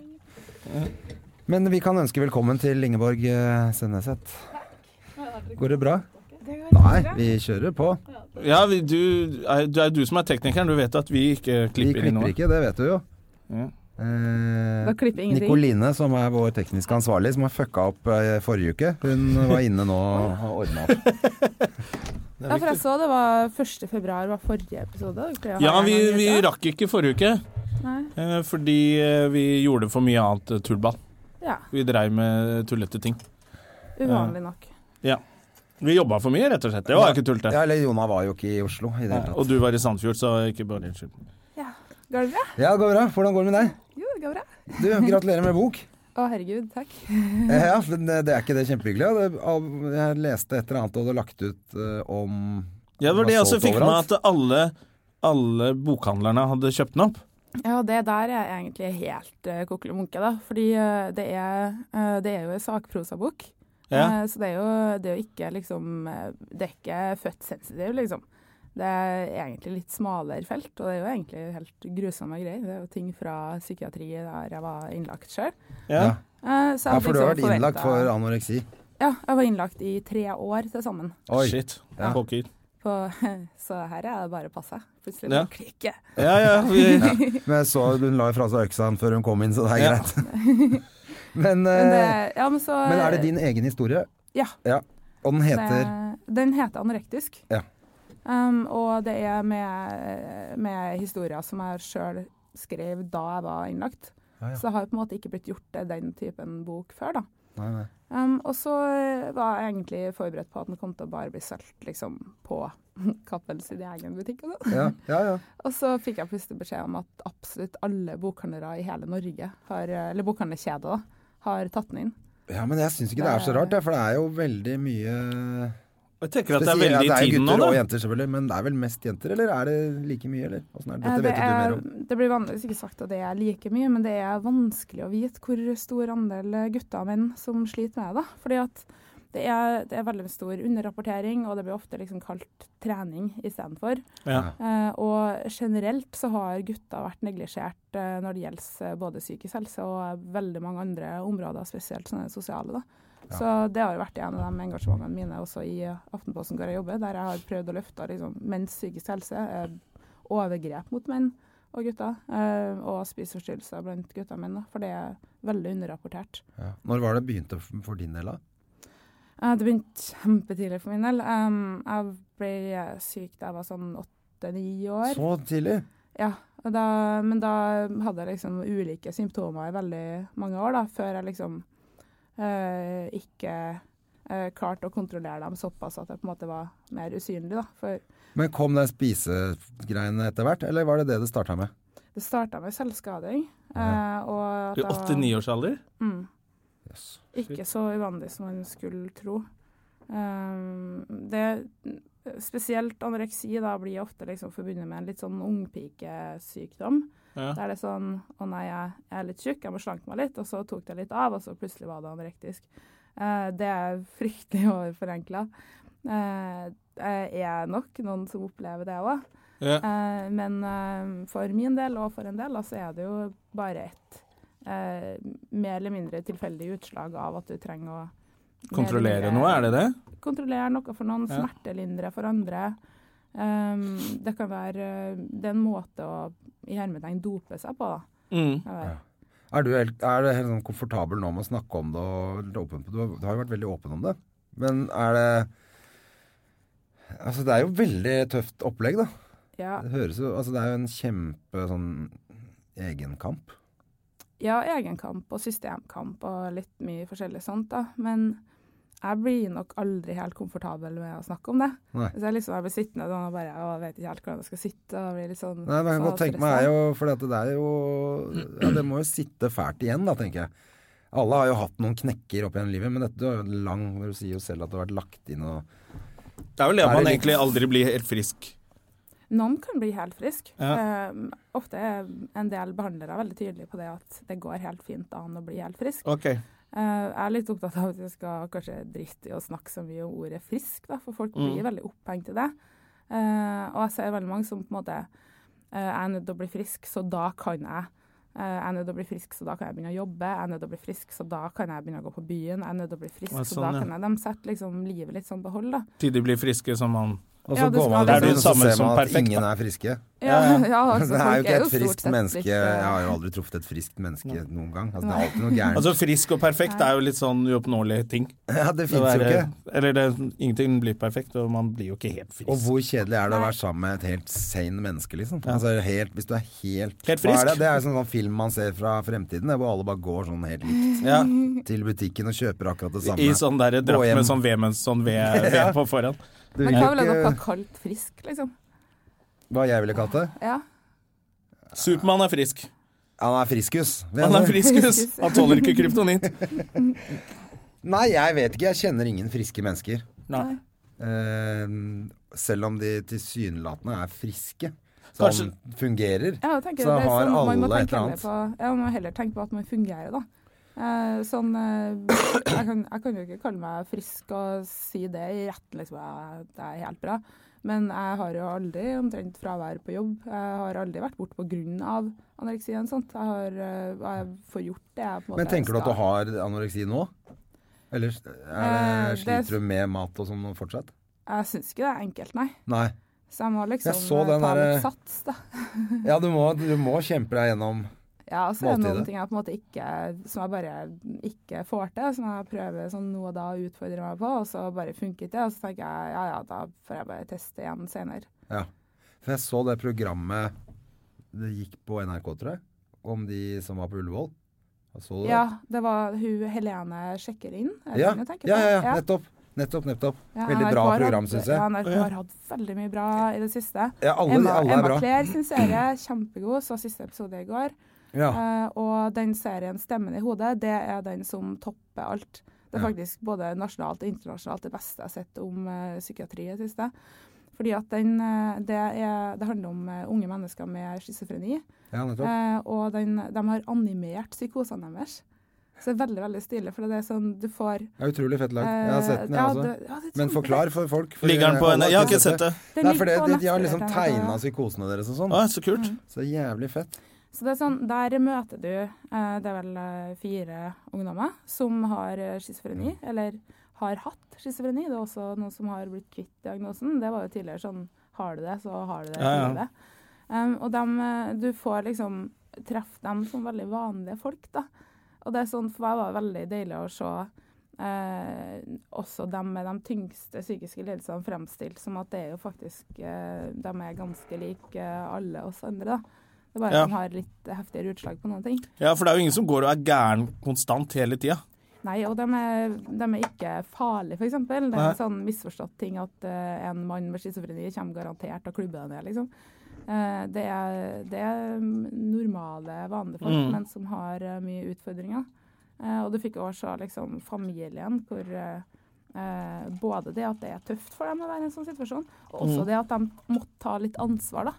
Men vi kan ønske velkommen til Ingeborg eh, Senneset. Går det bra? Nei, vi kjører på. Ja, vi, du, er, det er du som er teknikeren. Du vet at vi ikke Vi klipper inn klipper noe. ikke, det vet du jo. Ja. Eh, Da klipper jeg ingenting. Nikoline, som er vår tekniske ansvarlig, som har fucka opp eh, forrige uke, hun var inne nå og ordna opp. Ja, for jeg så det var 1. februar var forrige episode. og ikke jeg har Ja, en vi, gang i vi uka. rakk ikke forrige uke. Nei. Eh, Fordi eh, vi gjorde for mye annet eh, tullball. Ja, Vi dreiv med tullete ting. uvanlig nok. Vi jobba for mye, rett og slett. Det var ikke tullete. Ja, eller Jona var jo ikke i Oslo i det hele tatt. Og du var i Sandfjord, så ikke bare unnskyld. Går det bra? Ja, det går bra. Hvordan går det med deg? Jo, det går bra. Du, gratulerer med bok. Å, herregud, takk. Eh, Ja, men det det er ikke det kjempehyggelig? ja. Det- av- Jeg leste et eller annet du hadde lagt ut eh, om Ja, det var det jeg også solgt fikk med overalt. at alle, alle bokhandlerne hadde kjøpt den opp. Ja, og det der er egentlig helt uh, kokkelemunke, da. Fordi eh, det, er, eh, det er jo en sakprosabok. Ja. Eh, så det er, jo, det er jo ikke liksom eh, Det er ikke født sensitiv, liksom. Det er egentlig litt smalere felt, og det er jo egentlig helt grusomme greier. Det er jo ting fra psykiatri der jeg var innlagt Eh, sjøl. Ja. Ja. Ja, for du har vært liksom innlagt for anoreksi. Ja, jeg var innlagt i tre år til sammen. Oi. Shit. Ja. Pokker. På, så her er det bare å passe. Plutselig Ja. lukker det ikke. Ja, ja, vi, Men jeg så hun la fra seg øksa før hun kom inn, så det er Ja. greit. Men, eh, Men, det, ja, men, så, men er det din egen historie? Ja. Og den det- heter Den heter anorektisk. Ja. Um, og det er med, med historier som jeg sjøl skrev da jeg var innlagt. Ja, ja. Så det har jo på en måte ikke blitt gjort eh, den typen bok før, da. Nei, nei. Um, og så eh, var jeg egentlig forberedt på at den kom til å bare bli solgt liksom, på Cappels sin egen butikk. Og sånn. Ja, ja, ja. Og så fikk jeg plutselig beskjed om at absolutt alle bokhandlere i hele Norge, har, eh, eller bokhandlerkjeder, da, har tatt den inn. ja, men jeg syns ikke det er så rart, jeg, for det er jo veldig mye jeg tenker at det er veldig Spesielt- ja, i det er jo tiden nå, gutter og da. jenter selvfølgelig, men det er vel mest jenter, eller er det like mye, eller? Åssen er det? Dette Eh, Det, vet jo du er, mer om. det blir vanligvis ikke sagt at det er like mye, men det er vanskelig å vite hvor stor andel gutter og menn som sliter med det. da. Fordi at det er, det er veldig stor underrapportering, og det blir ofte liksom kalt trening istedenfor. Ja. Eh, og generelt så har gutta vært neglisjert eh, når det gjelder eh, både psykisk helse og eh, veldig mange andre områder, spesielt sånne sosiale. da. Så det har jo vært en av de engasjementene mine også i eh, Aftenposten hvor jeg jobber, der jeg har prøvd å løfte liksom, menns psykisk helse, eh, overgrep mot menn og gutter, eh, og spiseforstyrrelser blant gutter og menn, da, for det er veldig underrapportert. Ja. Når var det begynte f- for din del, da? Eh, Det begynte kjempetidlig for min del. Um, jeg ble eh, syk da jeg var sånn åtte-ni år. Så tidlig? Ja, Og da, men da hadde jeg liksom ulike symptomer i veldig mange år, da, før jeg liksom eh, ikke eh, klarte å kontrollere dem såpass at jeg på en måte var mer usynlig. Da. For Men kom den spisegreiene etter hvert, eller var det det det starta med? det starta med selvskading. eh, og at I jeg var- 89 års alder? Mm. Yes. Ikke så uvanlig som man skulle tro. Ehm, det, spesielt anoreksi da blir ofte liksom forbundet med en litt sånn ungpikesykdom. Ja. Der det er sånn å nei, jeg er litt tjukk, jeg må slanke meg litt. Og så tok det litt av, og så plutselig var det anorektisk. Eh, det er fryktelig overforenkla. Eh, jeg er nok noen som opplever det òg. Ja. Eh, men eh, for min del og for en del da, så er det jo bare ett eh, mer eller mindre tilfeldig utslag av at du trenger å Kontrollere noe, er det det? Kontrollere noe for noen, Ja. smertelindre for andre. Um, det kan være eh, Det er en måte å i hermetegn dope seg på, da. Mm. Kan være. Er du helt, er du helt sånn komfortabel nå med å snakke om det og litt åpen på det? Du har- Du har jo vært veldig åpen om det. Men er det Altså, det er jo veldig tøft opplegg, da. Ja. Det høres jo Altså, det er jo en kjempe sånn egenkamp. ja, egenkamp og systemkamp og litt mye forskjellig sånt, da. Men jeg blir nok aldri helt komfortabel med å snakke om det. Nei. Hvis jeg liksom jeg blir sittende sånn og bare å, jeg vet ikke helt hvordan jeg skal sitte og blir litt sånn Nei, men jeg kan så godt tenke meg stressa. er jo For dette, det er jo ja, Det må jo sitte fælt igjen, da, tenker jeg. Alle har jo hatt noen knekker opp gjennom livet, men dette du har jo en lang Du sier jo selv at det har vært lagt inn og Det er vel det at Er man det litt- egentlig aldri blir helt frisk. Noen kan bli helt frisk. Ja. Eh, ofte er en del behandlere veldig tydelige på det at det går helt fint an å bli helt frisk. Ok. Eh, jeg er litt opptatt av at vi skal kanskje drite i å snakke så mye om ordet frisk, da, for folk Mm. blir veldig opphengt i det. Eh, og jeg ser veldig mange som på en måte eh, Jeg er nødt til å bli frisk, så da kan jeg. Eh, jeg er nødt til å bli frisk, så da kan jeg begynne å jobbe. Jeg er nødt til å bli frisk, så da kan jeg begynne å gå på byen. Jeg er nødt til å bli frisk, Ja, så da sånn, ja. kan jeg. De setter liksom livet litt sånn på hold, da. Til de blir friske som man Og så Ja, det går skal man være rundt sånn. Det er det og så ser samme man som at perfekt, ingen da. er friske. Ja, Altså, det er jo folk ikke et stort friskt sett menneske. litt, eh, Jeg har jo aldri truffet et friskt menneske noen gang. Altså, det er alltid noe gærent. Altså frisk og perfekt er jo litt sånn uoppnåelig ting. ja, det Det eh, fins jo er- ikke. Eller det, ingenting blir perfekt, og man blir jo ikke helt frisk. Og hvor kjedelig er det å være sammen med et helt sane menneske, liksom. Altså, helt, hvis du er helt, Helt Hva Er det? frisk. det er jo sånn, sånn film man ser fra fremtiden, der hvor alle bare går sånn helt likt ja. til butikken og kjøper akkurat det samme. I sånn der Gå drakt hjem. med sånn ved med sånn ved, ved på forhånd. Du vil Men hva ville ikke- dere ha kalt frisk, liksom? Hva jeg ville kalt det? Ja. Supermann er frisk. Han er friskus. Han er friskus. Friskus. Han tåler ikke kryptonitt. Nei, jeg vet ikke. Jeg kjenner ingen friske mennesker. Nei. Eh, selv om de tilsynelatende er friske. Som Kanskje- fungerer. Ja, jeg tenker Så det er har sånn man må alle et tenke eller heller På, ja, man må heller tenke på at man fungerer, da. Eh, sånn eh, jeg kan, jeg kan jo ikke kalle meg frisk og si det i retten, liksom. Jeg, det er helt bra. Men jeg har jo aldri omtrent fravær på jobb. Jeg har aldri vært borte pga. anoreksi eller sånt. Jeg har eh, jeg får gjort det jeg på en måte Men tenker du at skal. du har anoreksi nå? Eller er Eh, det, det- sliter du med mat og sånn fortsatt? Jeg syns ikke det er enkelt, nei. Nei. Så jeg må liksom så eh, den ta der- litt sats, da. Ja, du må, du må kjempe deg gjennom. Ja, og så er det noen Måltidet. ting jeg på en måte ikke, som jeg bare ikke får til, som jeg prøver sånn nå og da å utfordre meg på, og så bare funker ikke det. Og så tenker jeg ja ja, da får jeg bare teste igjen senere. Ja. For jeg så det programmet det gikk på NRK, tror jeg, om de som var på Ullevål. Jeg Så du det? Ja, det var hun Helene sjekker inn. er det Ja. hun jeg tenker på? ja, ja, ja, nettopp. Nettopp, nettopp. Ja, Veldig NRK bra har program, hatt- syns Ja, jeg. NRK har hatt veldig mye bra i det siste. Ja, alle, Emma, alle er Emma bra. Claire sin serie, kjempegod, så siste episode i går. Ja. Eh, og den serien 'Stemmen i hodet' det er den som topper alt. Det er faktisk både nasjonalt og internasjonalt det beste jeg har sett om eh, psykiatri i det siste. Fordi at den, eh, det, er, det handler om eh, unge mennesker med schizofreni. ja, nettopp. eh, og den, de har animert psykosene deres. Så det er veldig veldig stilig. For det er sånn du får Det er utrolig fett lag. Jeg har eh, sett den, ja, jeg også. det- ja, det er Men kjempefett. forklar for folk. for Ligger han på en alle har Jeg har ikke sett det. Den Nei, ligger for det, på de, de har nettsiden liksom til NRK. tegna psykosene deres og sånn. Å, så kult. Så jævlig fett. Så det er sånn, Der møter du eh, det er vel eh, fire ungdommer som har eh, schizofreni, eller har hatt schizofreni. Det er også noen som har blitt kvitt diagnosen. Det var jo tidligere sånn Har du det, så har du det. Ja, ja. for livet. Um, og dem, eh, du får liksom treffe dem som veldig vanlige folk, da. Og det er sånn, for meg var det veldig deilig å se eh, også dem med de tyngste psykiske lidelsene fremstilt som at det er jo faktisk eh, De er ganske like eh, alle oss andre, da. Det er bare Ja. at de har litt heftigere utslag på noen ting. Ja, for det er jo ingen som går og er gæren konstant hele tida. Nei, og de er, de er ikke farlige, f.eks. Det er Nei. en sånn misforstått ting at eh, en mann med schizofreni kommer garantert og klubber deg ned, liksom. Eh, det, er, det er normale, vanlige folk, Mm. men som har eh, mye utfordringer. Eh, og du fikk også se liksom, familien, hvor eh, eh, både det at det er tøft for dem å være i en sånn situasjon, og også det at de måtte ta litt ansvar, da.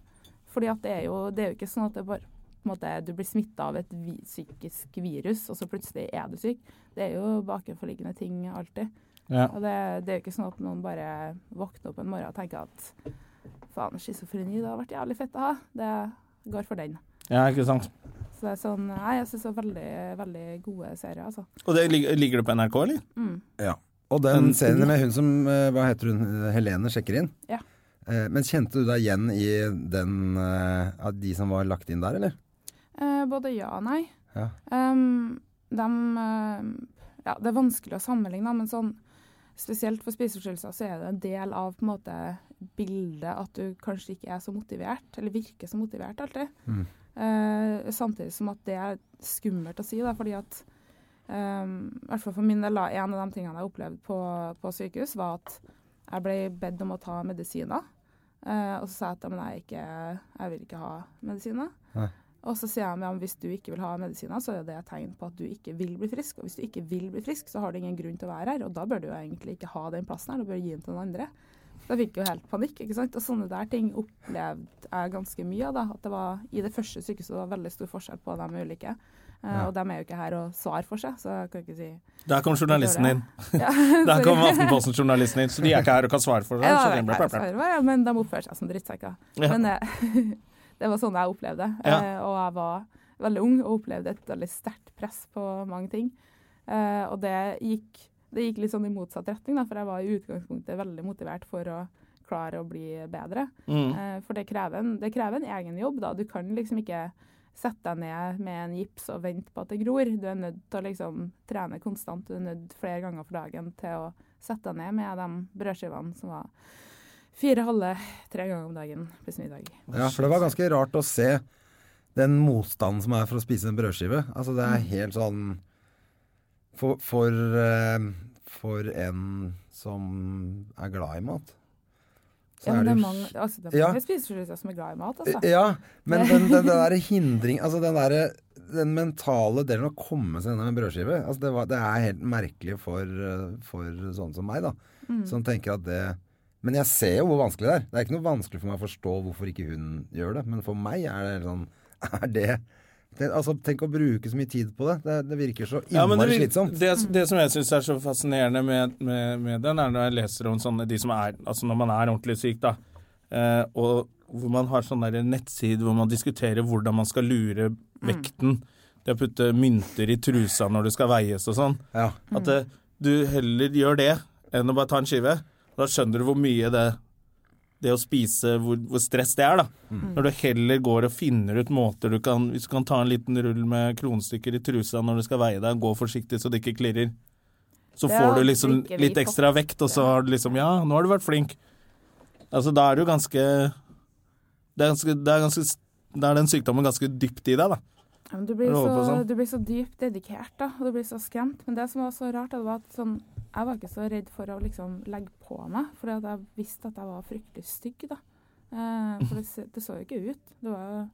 Fordi at det er jo, det er jo ikke sånn at det bare på en måte, du blir smitta av et vi psykisk virus, og så plutselig er du syk. Det er jo bakenforliggende ting alltid. Ja. Og det, det er jo ikke sånn at noen bare våkner opp en morgen og tenker at faen, schizofreni, det har vært jævlig fett å ha. Det går for den. ja, ikke sant. Så det er sånn, nei, jeg syns det er veldig, veldig gode serier, altså. Og det lig- ligger det på NRK, eller? Og den Men- serien med hun som eh, Hva heter hun? Helene sjekker inn. Ja. Eh, Men kjente du deg igjen i den eh, av de som var lagt inn der, eller? Eh, både ja og nei. Ja. Ehm, dem, eh, ja, det er vanskelig å sammenligne, da, men sånn, spesielt for spiseforstyrrelser så er det en del av på en måte, bildet at du kanskje ikke er så motivert, eller virker så motivert alltid. Eh, samtidig som at det er skummelt å si, da, fordi at ehm, i hvert fall for min del, da, en av de tingene jeg opplevde på, på sykehus, var at jeg ble bedt om å ta medisiner. Eh, og så sa jeg at «Ja, men jeg, er ikke, jeg vil ikke ha medisiner. Og så sier jeg at hvis du ikke vil ha medisiner, så er det et tegn på at du ikke vil bli frisk. Og hvis du ikke vil bli frisk, så har du ingen grunn til å være her, og da bør du jo egentlig ikke ha den plassen her, du bør gi den til noen andre. Så jeg fikk jo helt panikk, ikke sant. Og sånne der ting opplevde jeg ganske mye av, da. At det var i det første sykehuset det var veldig stor forskjell på de ulike. Eh, Og de er jo ikke her og svarer for seg, så jeg kan ikke si Der kom journalisten inn. Der kom Aftenposten-journalisten inn, så de er ikke her og kan svare for seg. Ja, så det det var ble- ikke det jeg svarer, men de oppførte seg som drittsekker. Ja. Men eh, det var sånn jeg opplevde det. Ja. Eh, og jeg var veldig ung og opplevde et veldig sterkt press på mange ting. Eh, og det gikk, det gikk litt sånn i motsatt retning, da, for jeg var i utgangspunktet veldig motivert for å klare å bli bedre. Eh, for det krever, en, det krever en egen jobb, da. Du kan liksom ikke sette deg ned med en gips og vente på at det gror. Du er nødt til å liksom trene konstant, du er nødt flere ganger for dagen til å sette deg ned med de brødskivene som var fire halve tre ganger om dagen pluss middag. Ja, for det var ganske rart å se den motstanden som er for å spise en brødskive. Altså det Mm. er helt sånn For, for, eh, for en som er glad i mat. Ja, men det er mange, altså, det er Ja. mange spiseforstyrrelser som er glad i mat, altså. Ja, men den, den, den der hindring Altså den derre den mentale delen å komme seg gjennom en brødskive altså det, var, det er helt merkelig for, eh, for sånne som meg, da. Mm. Som tenker at det Men jeg ser jo hvor vanskelig det er. Det er ikke noe vanskelig for meg å forstå hvorfor ikke hun gjør det, men for meg er det helt sånn Er det, det Altså, tenk å bruke så mye tid på det. Det, det virker så Ja, men innmari det, slitsomt. det, det som jeg syns er så fascinerende med, med, med den, er når jeg leser om sånne de som er Altså når man er ordentlig syk, da. Eh, og hvor man har sånn der nettside hvor man diskuterer hvordan man skal lure vekten. Det å putte mynter i trusa når det skal veies og sånn. Ja. At eh, du heller gjør det enn å bare ta en skive. Da skjønner du hvor mye det det å spise, hvor, hvor stress det er, da. Når du heller går og finner ut måter du kan Hvis du kan ta en liten rull med kronstykker i trusa når du skal veie deg, gå forsiktig så det ikke klirrer. Så Ja, får du liksom drikke litt litt ekstra vekt, og så har du liksom Ja, nå har du vært flink. Altså, da er du ganske Det er ganske, det er ganske Da er den sykdommen ganske dypt i deg, da. Ja, men du, Når blir du holder på så, sånn. du blir så dypt dedikert, da, og du blir så skremt. Men det som var så rart, da, det var at sånn, jeg var ikke så redd for å liksom legge på meg, fordi at jeg visste at jeg var fryktelig stygg. da. Eh, for det, se- det så jo ikke ut. Det var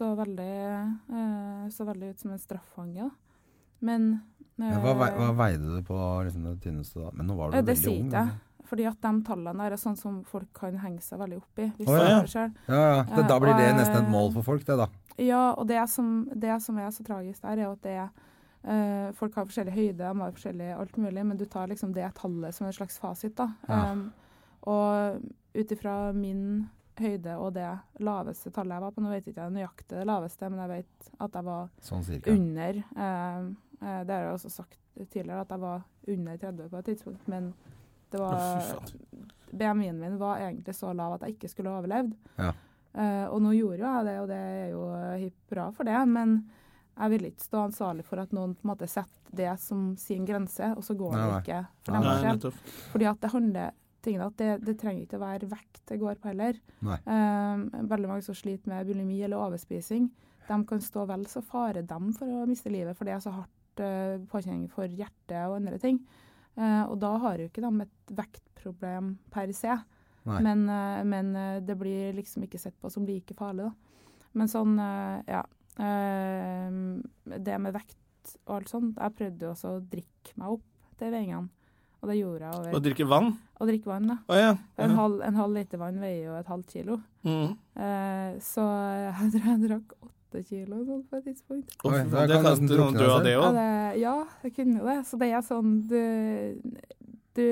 så veldig, eh, så veldig ut som en straffange. da. Men eh, Ja, hva, vei- hva veide du på liksom, det tynneste da? Men nå var du ja, det veldig sier ung. ikke jeg. Fordi at de tallene der er sånn som folk kan henge seg veldig opp i. Hvis Å, de ja. gjør det selv. Ja, ja. Det, Ja, da blir og, det nesten et eh, mål for folk, det da. Ja, og det som, det som er så tragisk der, er jo at det er eh, Folk har forskjellig høyde, de har forskjellig alt mulig, men du tar liksom det tallet som en slags fasit, da. Ja. Um, og ut ifra min høyde og det laveste tallet jeg var på, nå vet jeg ikke nøyaktig det laveste, men jeg vet at jeg var Sånn cirka. under eh, eh, Det har jeg også sagt tidligere, at jeg var under 30 på et tidspunkt, men det Å, var fy faen. BMI-en min var egentlig så lav at jeg ikke skulle ha overlevd. Ja. Eh, og nå gjorde jo jeg det, og det er jo eh, hipp bra for det, men jeg ville ikke stå ansvarlig for at noen på en måte setter det som sin grense, og så går Nei, det nei. ikke for Nei, dem Nei, selv. nettopp. Fordi at det handler tingene at det, det trenger ikke å være vekt det går på heller. Nei. Um, veldig mange som sliter med bulimi eller overspising, de kan stå vel så fare dem for å miste livet, for det er så hardt eh, påkjenning for hjertet og andre ting. Eh, og da har jo ikke de et vektproblem per se, Nei. men, eh, men eh, det blir liksom ikke sett på som like farlig. Da. Men sånn, eh, ja eh, Det med vekt og alt sånt Jeg prøvde jo også å drikke meg opp til veiingene, og det gjorde jeg Å over drikke vann? å drikke vann. da. Å ja. En halv, en halv liter vann veier jo et halvt kilo. Mm. Eh, så jeg tror jeg drakk åtte kilo sånn, på et tidspunkt. Å, fy Oi, faen, da det kan kan nesten du drukne altså. dø av, seg. det Ja, òg. det, ja, jeg kunne jo det. Så det er sånn Du, du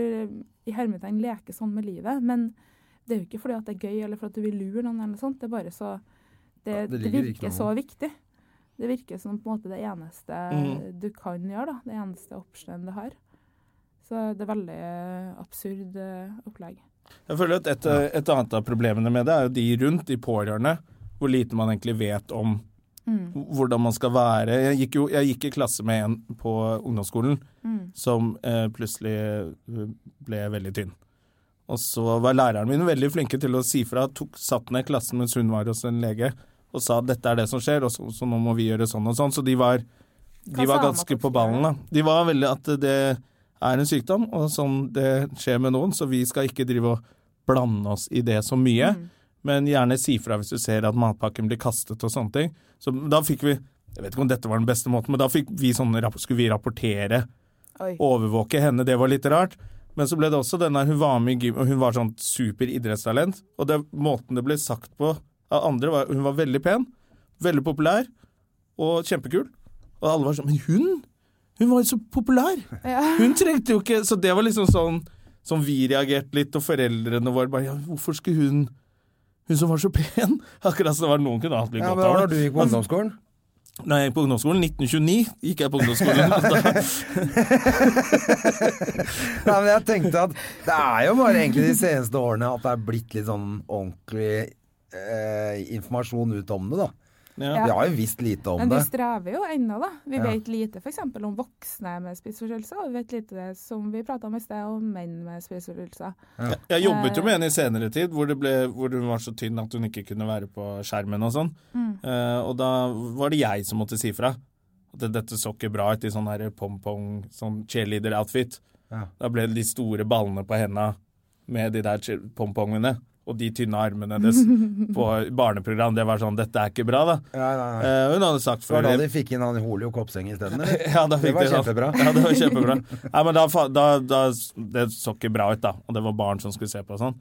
i hermetegn leker sånn med livet, men det er jo ikke fordi at det er gøy eller for at du vil lure noen, eller noe sånt. Det er bare så Det, Ja, det det, ligger ikke virker noe. så viktig. Det virker som på en måte det eneste Mhm. du kan gjøre, da. Det eneste optionen du har. Så det er veldig eh, absurd eh, opplegg. Jeg føler at et, et annet av problemene med det er jo de rundt, de pårørende, hvor lite man egentlig vet om hvordan man skal være. Jeg gikk, jo, jeg gikk i klasse med en på ungdomsskolen Mm. som eh, plutselig eh, ble veldig tynn. Og så var læreren min veldig flinke til å si fra, tok, satt ned klassen mens hun var hos en lege og sa dette er det som skjer, og så, så nå må vi gjøre sånn og sånn. Så de var, de Hva var sa han ganske at på det skulle ballen. da. De var veldig at det er en sykdom, og sånn det skjer med noen, så vi skal ikke drive og blande oss i det så mye. Mm. Men gjerne si fra hvis du ser at matpakken blir kastet og sånne ting. Så da fikk vi Jeg vet ikke om dette var den beste måten, men da fikk vi sånne, rapp- skulle vi rapportere Oi. overvåke henne, det var litt rart. Men så ble det også den der hun var med i gym, og hun var sånn super idrettstalent. Og det, måten det ble sagt på av andre, var hun var veldig pen, veldig populær og kjempekul. Og alle var sånn Men hun? Hun var jo så populær! Hun trengte jo ikke Så det var liksom sånn som vi reagerte litt, og foreldrene våre bare Ja, hvorfor skulle hun Hun som var så pen? Akkurat som det var noen kunne hatt litt Ja, men altså- godt av. da var du gikk på ungdomsskolen. Når jeg gikk på ungdomsskolen, 1929, gikk jeg på ungdomsskolen. Da, Nei, men jeg tenkte at det er jo bare egentlig de seneste årene at det er blitt litt sånn ordentlig eh, informasjon ut om det, da. ja. Vi har jo visst lite om Men vi det. strever jo ennå, da. Vi Ja. vet lite f.eks. om voksne med spiseforstyrrelser, og vi vet lite det som vi prata om i sted, om menn med spiseforstyrrelser. Jeg jobbet jo med henne i senere tid, hvor, det ble, hvor hun var så tynn at hun ikke kunne være på skjermen og sånn. Eh, og da var det jeg som måtte si fra. At det- dette så ikke bra ut i sånn her pong-pong, sånn cheerleader-outfit. Ja. Da ble det de store ballene på henda med de der cheer- pong-pongene. Og de tynne armene hennes på barneprogram. Det var sånn, dette er ikke bra, da. Ja, nei, nei. Eh, hun hadde sagt Det før var da de fikk inn han Holio Kopseng isteden, eller? ja, da Det fikk var de sånn. kjempebra. Ja, det var kjempebra. Nei, men da, fa- da, da, det så ikke bra ut, da. Og det var barn som skulle se på og sånn.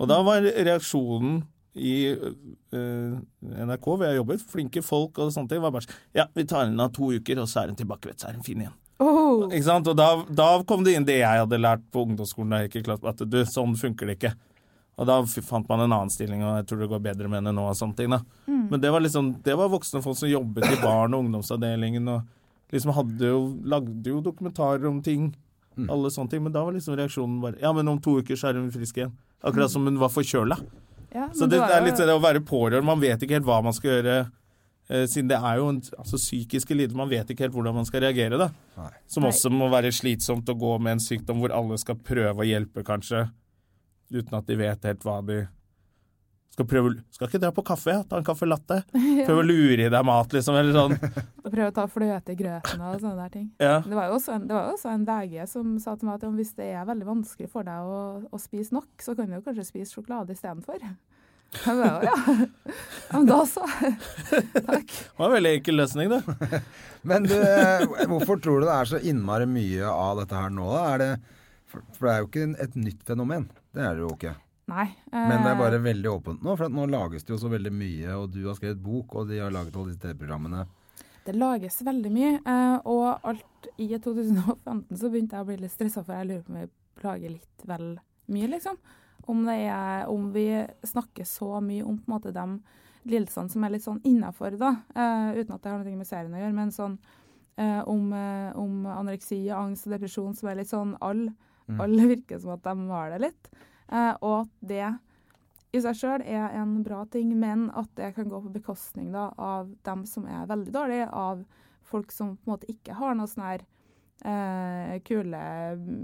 Og da var reaksjonen i eh, NRK, hvor jeg jobbet, flinke folk og sånne ting, var bare sånn Ja, vi tar henne av to uker, og så er hun tilbake, vet du, så er hun fin igjen. Oh, Ikke sant? Og da, da kom det inn det jeg hadde lært på ungdomsskolen, da jeg gikk i klasse, at du, sånn funker det ikke. Og da f- fant man en annen stilling, og jeg tror det går bedre med henne nå og sånne ting, da. Men det var liksom, det var voksne folk som jobbet i barn- og ungdomsavdelingen, og liksom hadde jo, lagde jo dokumentarer om ting, alle sånne ting, men da var liksom reaksjonen bare, ja, men om to uker så er hun frisk igjen. Akkurat som hun var forkjøla. ja, Så men det, var er jo- litt det å være pårørende, man vet ikke helt hva man skal gjøre, eh, siden det er jo en altså, psykiske lidelser, man vet ikke helt hvordan man skal reagere, da. Nei. Som Nei. også må være slitsomt å gå med en sykdom hvor alle skal prøve å hjelpe, kanskje, uten at de vet helt hva de skal prøve Skal ikke dra på kaffe, ja? ta en kaffe latte? Prøve å lure i deg mat, liksom, eller sånn. å prøve å ta fløte i grøten og sånne der ting. Ja. Det var jo også en, det var jo også en lege som sa til meg at om hvis det er veldig vanskelig for deg å, å spise nok, så kan du jo kanskje spise sjokolade istedenfor. Jeg bare, Ja, ja, men da så. Takk. Det var en veldig enkel løsning, det. Men du, eh, hvorfor tror du det er så innmari mye av dette her nå, da? Er det, for, for det er jo ikke en- et nytt fenomen. Det er det jo ikke. Nei. Men det er bare Eh. veldig åpent nå, for at nå lages det jo så veldig mye, og du har skrevet bok, og de har laget alle disse TV-programmene. Det lages veldig mye, eh, og alt i 2015 så begynte jeg å bli litt stressa, for jeg lurer på om vi lager litt vel mye, liksom. Om, det er, om vi snakker så mye om på en måte de lidelsene som er litt sånn innafor, da. eh, uten at det har noe med serien å gjøre, men sånn eh, om, eh, om anoreksi, angst og depresjon, som er litt sånn alle. Alle virker som at de har det litt. Eh, og at det i seg sjøl er en bra ting, men at det kan gå på bekostning da, av dem som er veldig dårlige, av folk som på en måte ikke har noe sånn her eh, kule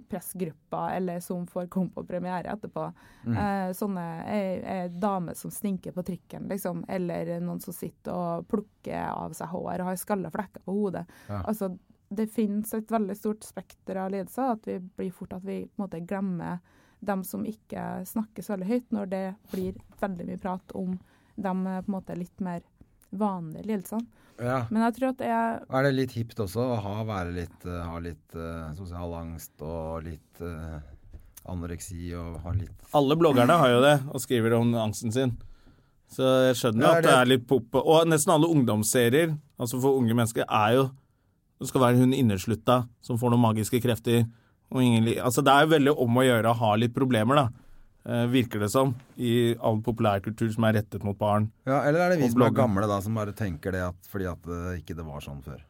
pressgrupper, eller som får komme på premiere etterpå. Eh, sånne eh, eh, damer som sninker på trikken, liksom. Eller noen som sitter og plukker av seg hår og har skalla flekker på hodet. Altså, det finnes et veldig stort spekter av lidelser. At vi blir fort at vi på en måte glemmer dem som ikke snakkes veldig høyt, når det blir veldig mye prat om de eh, på en måte litt mer vanlige lidelsene. Ja. Men jeg tror at det er Er det litt hipt også å ha, være litt, eh, ha litt eh, sosial angst og litt eh, anoreksi og ha litt Alle bloggerne har jo det, og skriver om angsten sin. Så jeg skjønner jo Ja, at det er litt pop. Og nesten alle ungdomsserier, altså for unge mennesker, er jo Det skal være hun inneslutta som får noen magiske krefter. Og ingen, li- altså det er jo veldig om å gjøre å ha litt problemer, da. Eh, virker det som. I all populærkultur som er rettet mot barn. Ja, eller er det vi Og som er blogger. gamle da, som bare tenker det at, fordi at det ikke det var sånn før?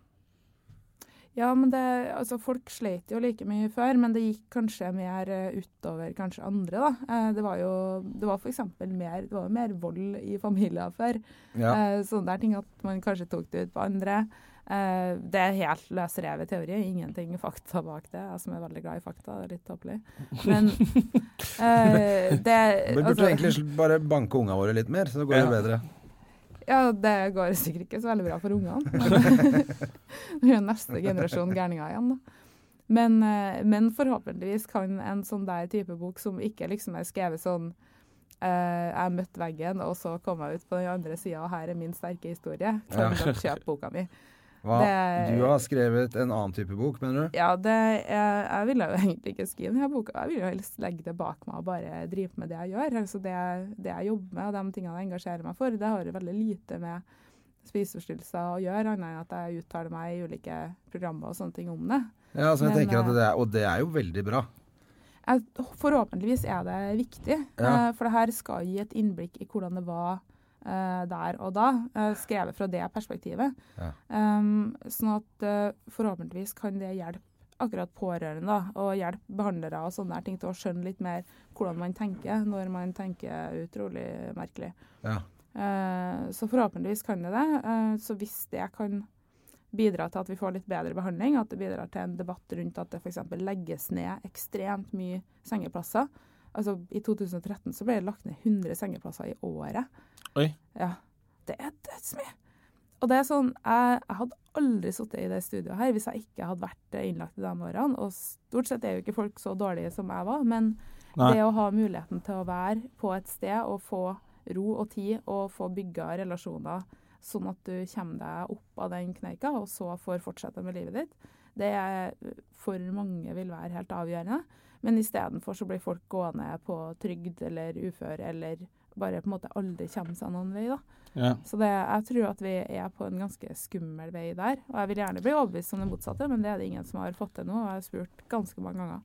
Ja, men det, altså folk sleit jo like mye før, men det gikk kanskje mer eh, utover kanskje andre, da. Eh, Det var jo det var for eksempel mer, det var jo mer vold i familier før. Ja. Eh, Sånne der ting at man kanskje tok det ut på andre. Eh, Det er helt løsrevet teori, ingenting fakta bak det. Jeg som er veldig glad i fakta, det er litt tåpelig. Men eh, det Vi burde altså- egentlig sl- bare banke unga våre litt mer, så går det bedre. ja, det går sikkert ikke så veldig bra for ungene. men Det er jo neste generasjon gærninger igjen, da. Men, eh, men forhåpentligvis kan en sånn der type bok som ikke liksom er skrevet sånn eh, jeg møtte veggen, og så kom jeg ut på den andre sida, og her er min sterke historie. Kan dere kjøpe boka mi? Hva? Det- Du har skrevet en annen type bok, mener du? Ja, det, jeg, jeg ville jo egentlig ikke skrive denne boka. Jeg ville jo helst legge det bak meg og bare drive med det jeg gjør. Altså det, det jeg jobber med og de tingene jeg engasjerer meg for, det har jo veldig lite med spiseforstyrrelser å gjøre, annet enn at jeg uttaler meg i ulike programmer og sånne ting om det. Ja, så jeg Men, tenker at eh, det er, Og det er jo veldig bra. Jeg, forhåpentligvis er det viktig, Ja. eh, for det her skal gi et innblikk i hvordan det var eh, der og da, eh, skrevet fra det perspektivet. Ja. Um, sånn at eh, forhåpentligvis kan det hjelpe akkurat pårørende da, og hjelpe behandlere og sånne her ting til å skjønne litt mer hvordan man tenker når man tenker utrolig merkelig. Ja. Eh, Så forhåpentligvis kan det det. Eh, Så hvis det kan bidra til at vi får litt bedre behandling, at det bidrar til en debatt rundt at det f.eks. legges ned ekstremt mye sengeplasser. Altså I 2013 så ble det lagt ned 100 sengeplasser i året. Oi. Ja. Det er dødsmye. Og det er sånn, jeg, jeg hadde aldri sittet i det studioet her hvis jeg ikke hadde vært eh, innlagt i de årene. Og stort sett er jo ikke folk så dårlige som jeg var, men Nei. det å ha muligheten til å være på et sted og få ro og tid og få bygga relasjoner sånn at du kommer deg opp av den kneika og så får fortsette med livet ditt, det er for mange vil være helt avgjørende. Men istedenfor så blir folk gående på trygd eller ufør eller bare på en måte aldri kommer seg noen vei, da. Ja. Så det, jeg tror at vi er på en ganske skummel vei der. Og jeg vil gjerne bli overbevist om det motsatte, men det er det ingen som har fått til nå. Og jeg har spurt ganske mange ganger.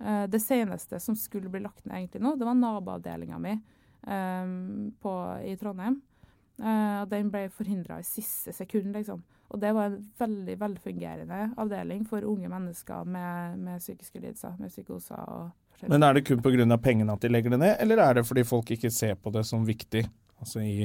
Eh, det seneste som skulle bli lagt ned egentlig nå, det var naboavdelinga mi eh, på, i Trondheim. Eh, og den ble forhindra i siste sekund, liksom. Og det var en veldig velfungerende avdeling for unge mennesker med, med psykiske lidelser, med psykoser og forskjellig. Men er det kun pga. pengene at de legger det ned, eller er det fordi folk ikke ser på det som viktig? Altså i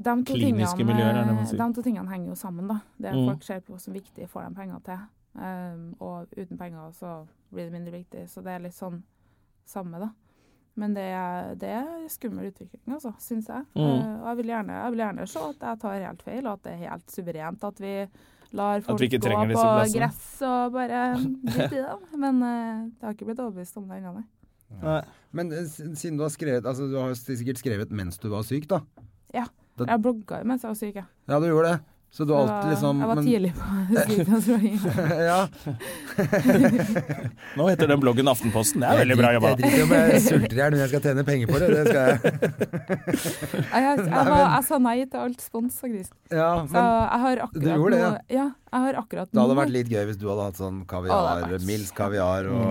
De to Kliniske tingene, eh, miljøer, er det man sier. De to tingene henger jo sammen, da. Det Mm. folk ser på som viktig, får de penger til. Um, og uten penger så blir det mindre viktig. Så det er litt sånn samme, da. Men det er, det er skummel utvikling, altså, syns jeg. Mm. Uh, og jeg vil, gjerne, jeg vil gjerne se at jeg tar helt feil, og at det er helt suverent at vi lar folk ikke gå trenger disse på plassene. gress og bare drite i dem. Men uh, det har ikke blitt overbevist om det ennå, nei. Nei. Men eh, s- siden du har skrevet Altså, du har jo sikkert skrevet mens du var syk, da. Ja. Da- Jeg blogga jo mens jeg var syk, jeg. Ja, du gjorde det. Så du har Jeg alltid var, liksom jeg var men- tidlig på sykdomsforhenget. ja. Nå heter den bloggen Aftenposten. Det er veldig bra jobba. Jeg driter i om jeg sulter i hjel, men jeg skal tjene penger på det. Det skal jeg. Jeg, jeg, jeg, var, jeg sa nei til alt spons, faktisk. Ja, Så men jeg har akkurat du gjorde det, nå- ja. Jeg har akkurat det hadde nå- vært litt gøy hvis du hadde hatt sånn Å, kaviar, det hadde vært Mm. Mills kaviar og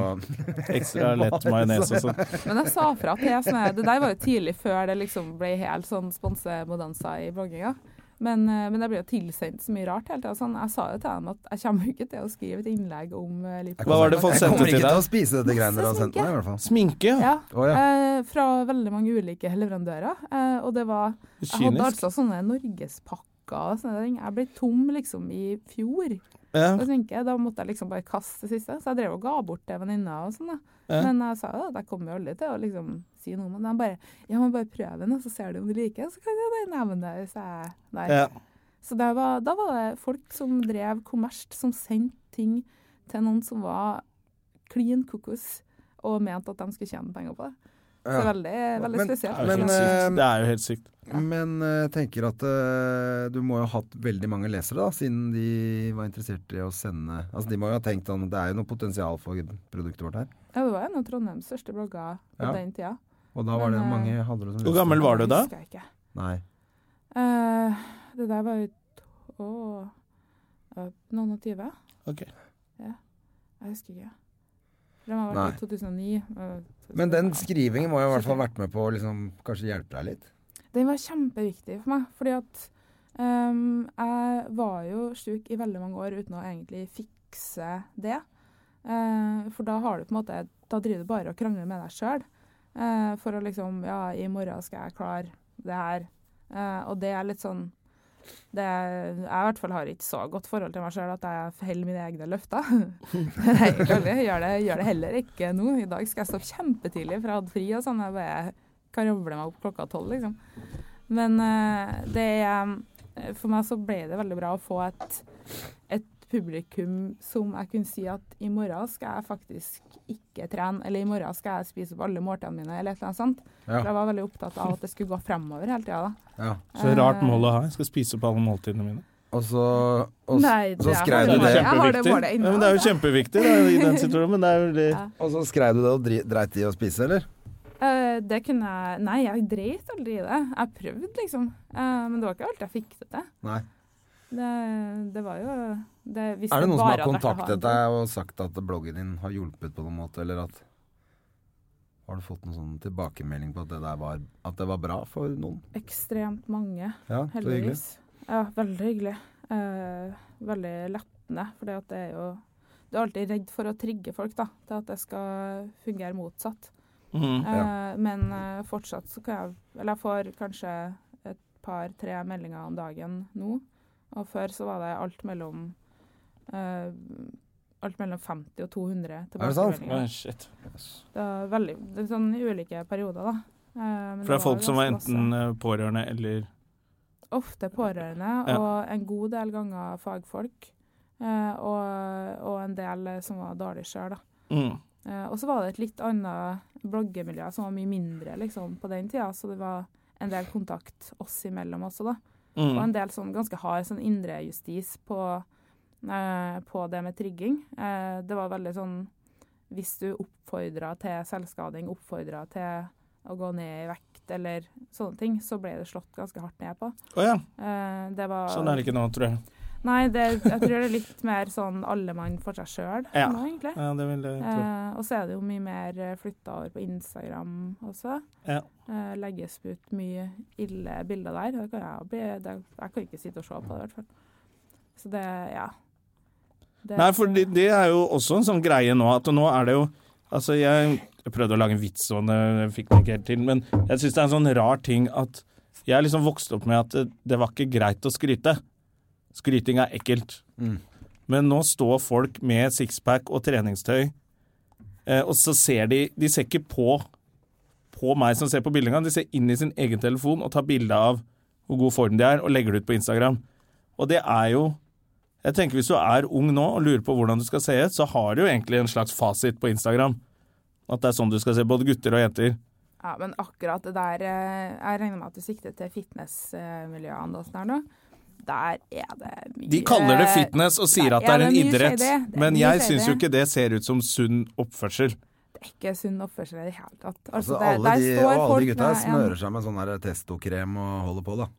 Ekstra lett majones og sånn. Men jeg sa fra til jeg, sånn, her- Det der var jo tidlig før det liksom ble helt sånn sponsemodanza i blogginga. Men, eh, men jeg ble jo tilsendt så mye rart hele tida. Sånn, jeg sa jo til dem at jeg kommer jo ikke til å skrive et innlegg om Hva eh, lipo. var det folk Jeg sendte kommer til ikke til å deg? spise dette greiene dere har sendt meg, i hvert fall. Sminke? ja. Ja, Å, ja. eh, fra veldig mange ulike leverandører. Eh, og det var Jeg hadde Kynisk. altså sånne norgespakker og sånne ting. Jeg ble tom liksom i fjor. Ja. Og sminke. Da måtte jeg liksom bare kaste det siste. Så jeg drev og ga bort til venninna og sånn, da. Ja. Men jeg sa jo at jeg kommer jo aldri til å liksom si noe om det. Men bare Ja, men bare prøv den, og så ser du om du liker den. Så kan jeg bare nevne det hvis jeg Nei. Ja. Så der var, da var det folk som drev kommersielt, som sendte ting til noen som var klin kokos, og mente at de skulle tjene penger på det. Så Ja. veldig, veldig Men- spesielt. Det er jo helt Men, sykt. eh, Det er jo helt sykt. Men eh, jeg tenker at eh, du må jo ha hatt veldig mange lesere, da, siden de var interessert i å sende Altså, de må jo ha tenkt sånn Det er jo noe potensial for produktet vårt her. Ja, det var en av Trondheims største blogger på Ja. den tida. Og da var Men, det eh, mange hadde det som Hvor gammel var du da? Husker jeg ikke. Nei. Eh, det der var jo to, ja, noen og tyve. Ok. Ja, jeg husker ikke. Den var vel Nei. i 2009. eh, Men den 2005. skrivingen må jo i hvert fall ha vært med på å liksom, kanskje hjelpe deg litt. Den var kjempeviktig for meg, fordi at ehm, jeg var jo syk i veldig mange år uten å egentlig fikse det. Eh, for da har du på en måte, da driver du bare og krangler med deg sjøl. for å liksom, ja, i morgen skal jeg klare det her. Eh, og det er litt sånn det, Jeg i hvert fall har ikke så godt forhold til meg sjøl at jeg holder mine egne løfter. Nei, jeg gjør det, gjør det heller ikke nå. I dag skal jeg stå opp kjempetidlig, for jeg hadde fri og sånn. Jeg bare kravler meg opp klokka tolv, liksom. Men eh, det eh, For meg så ble det veldig bra å få et, et publikum som jeg kunne si at i morgen skal jeg faktisk ikke trene, eller i morgen skal jeg spise opp alle måltidene mine, eller et eller annet sånt. Ja. For jeg var veldig opptatt av at det skulle gå fremover hele tida, da. Ja. Så rart mål å ha. Jeg skal spise opp alle måltidene mine. Og så, og, s- Nei, så det er- skrev Det du er det. Jeg har det kjempeviktig. målet ennå. Ja, men det er jo kjempeviktig da, i den situasjonen, men det er jo det. Ja. Og så skrev du det og dri- dreit i å spise, eller? Eh, det kunne jeg Nei, jeg dreit aldri i det. Jeg prøvde, liksom. Eh, men det var ikke alt jeg fikk til det. Nei. Det, det var jo det, hvis Er det noen som har bare hadde vært å ha en kontaktet deg og sagt at bloggen din har hjulpet på noen måte, eller at Har du fått noen sånn tilbakemelding på at det der var, at det var bra for noen? Ekstremt mange, Ja, så hyggelig. heldigvis. Ja, veldig hyggelig. Eh, veldig lettende, for det er jo Du er alltid redd for å trigge folk da, til at det skal fungere motsatt. Mhm. Ja. Eh, men eh, fortsatt så kan jeg Eller jeg får kanskje et par-tre meldinger om dagen nå. Og før så var det alt mellom eh, Alt mellom 50 og 200 det sant? tilbakemeldinger. Å, shit. Det var veldig det er sånn i ulike perioder, da. Eh, men For det er folk som var ganske masse. enten eh, pårørende eller Ofte pårørende, Ja. og en god del ganger fagfolk. eh, og, og en del eh, som var dårlig sjøl, da. mm. Eh, og så var det et litt annet bloggemiljø som var mye mindre liksom, på den tida, så det var en del kontakt oss imellom også, da. Og Mm. en del sånn ganske hard sånn indrejustis på, eh, på det med trigging. Eh, det var veldig sånn Hvis du oppfordra til selvskading, oppfordra til å gå ned i vekt eller sånne ting, så ble det slått ganske hardt ned på. Å ja, Eh, det var sånn er det ikke nå, tror jeg. Nei, det, jeg tror det er litt mer sånn alle mann for seg sjøl Ja. nå, egentlig. Ja, det vil jeg tro. Eh, og så er det jo mye mer flytta over på Instagram også. Ja. Eh, legges ut mye ille bilder der. Det kan jeg, bli, det, jeg kan ikke sitte og se på det, i hvert fall. Så det, ja. Det- Nei, for det, det er jo også en sånn greie nå, at nå er det jo Altså, jeg jeg prøvde å lage en vits om det, jeg fikk den ikke helt til, men jeg syns det er en sånn rar ting at Jeg liksom vokste opp med at det, det var ikke greit å skryte. Skryting er ekkelt. Mm. Men nå står folk med sixpack og treningstøy, eh, og så ser de De ser ikke på På meg som ser på bildet engang, de ser inn i sin egen telefon og tar bilde av hvor god form de er, og legger det ut på Instagram. Og det er jo jeg tenker Hvis du er ung nå og lurer på hvordan du skal se ut, så har du jo egentlig en slags fasit på Instagram. At det er sånn du skal se både gutter og jenter. Ja, men akkurat det der eh, Jeg regner med at du sikter til fitnessmiljøene og sånn her nå. Der er det mye De kaller det fitness og sier at det Eh, Ja, er en mye idrett, shady. Det er men mye jeg shady. syns jo ikke det ser ut som sunn oppførsel. Det er ikke sunn oppførsel i det hele tatt. Altså, det- alle de, og alle folk de gutta med en- smører seg med sånn her testokrem og holder på, da.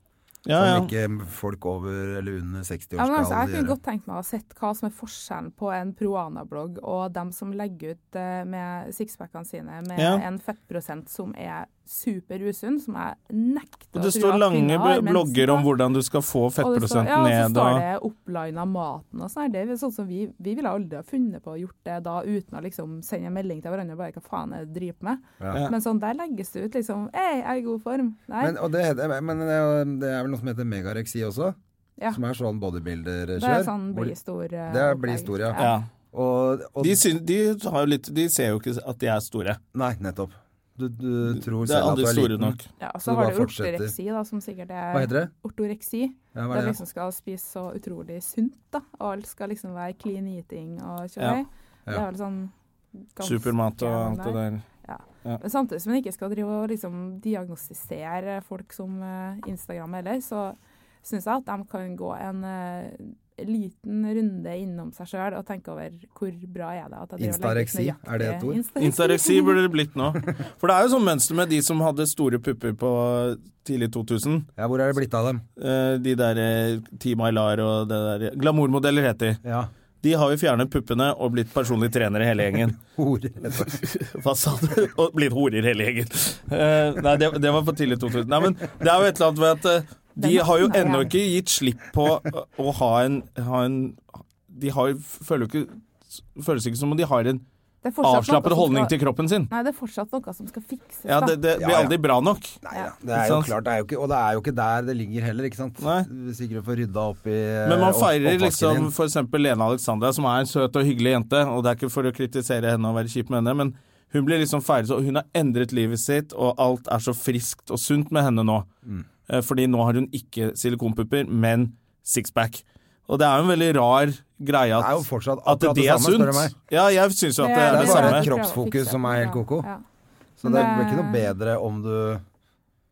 Ja, Som ja. ikke folk over eller under 60 Ja, år men altså, skal jeg kunne gjøre. godt tenkt meg å ha sett hva som er forskjellen på en Proana-blogg og dem som legger ut eh, med sixpackene sine med Ja. en fettprosent som er superusunn, som jeg nekter Og det står lange bl- blogger om hvordan du skal få fettprosenten ja, og så ned. står Og, det opplina maten og sånn. her. Det er vel sånn som vi, vi ville aldri ha funnet på å gjort det da uten å liksom sende en melding til hverandre bare hva faen er det du driver med. Ja. Men sånn, der legges det ut liksom Hei, jeg er i god form. Nei. Men, og det, heter- men det, er jo- det er vel noe som heter megareksi også? Ja. som er sånn bodybuilder Det er kjør sånn hvor- bli stor. eh, Det er bli opplegg. stor, ja. Ja. Og, og De, syn, de, har jo litt, de ser jo ikke at de er store. Nei, nettopp. Du, du tror Det er selv at du aldri er store liten. nok. Ja, og Så så det har bare du fortsetter. ortoreksi, da, som sikkert er Hva heter det? Ortoreksi. Ja, hva Der er du det? liksom skal spise så utrolig sunt, da. Og alt skal liksom være clean eating og Ja. kjøttdeig. Det er Ja. vel sånn ganske Supermat og alt det der. Men samtidig som en ikke skal drive og liksom diagnostisere folk som eh, Instagram heller, så syns jeg at de kan gå en eh, liten runde innom seg sjøl og tenke over hvor bra er det at jeg driver og legger ut Instareksi, er det et nøyaktige ord? Instareksi. Instareksi burde det blitt nå. For det er jo sånn mønster med de som hadde store pupper på tidlig 2000. Ja, hvor er det blitt av dem? Eh, De der eh, Team Aylar og det der eh, Glamourmodeller heter de. Ja. De har jo fjernet puppene og blitt personlige trenere hele gjengen. Horer. heter det. Hva sa du? Og blitt horer hele gjengen. Eh, nei, det, det var på tidlig 2000. Nei, men det er jo et eller annet ved at eh, de har jo ennå ikke gitt slipp på å- å ha en, ha en De har, jo- føler jo ikke Føles ikke som om de har en Det er fortsatt noe avslappet som holdning skal- til kroppen sin. Nei, det er fortsatt noe som skal fikses, Ja, da. Det, det blir Ja, ja. aldri bra nok. Nei Ja. da, det er jo Ikke sant? klart. Det er jo ikke, og det er jo ikke der det ligger heller, ikke sant. Nei. Hvis ikke du får rydda opp i eh, Men man opp- feirer oppvasken liksom din. f.eks. Lene Alexandra, som er en søt og hyggelig jente, og det er ikke for å kritisere henne og være kjip med henne, men hun blir liksom feiret, så hun har endret livet sitt, og alt er så friskt og sunt med henne nå. Mm. Eh, Fordi nå har hun ikke silikonpupper, men sixpack. Og det er jo en veldig rar greie Det er jo at, fortsatt at akkurat det er samme, spør du sunt. meg. Ja, jeg syns jo at det er det det er bare samme. et kroppsfokus som er helt koko. Ja. Så Men det det- blir ikke noe bedre om du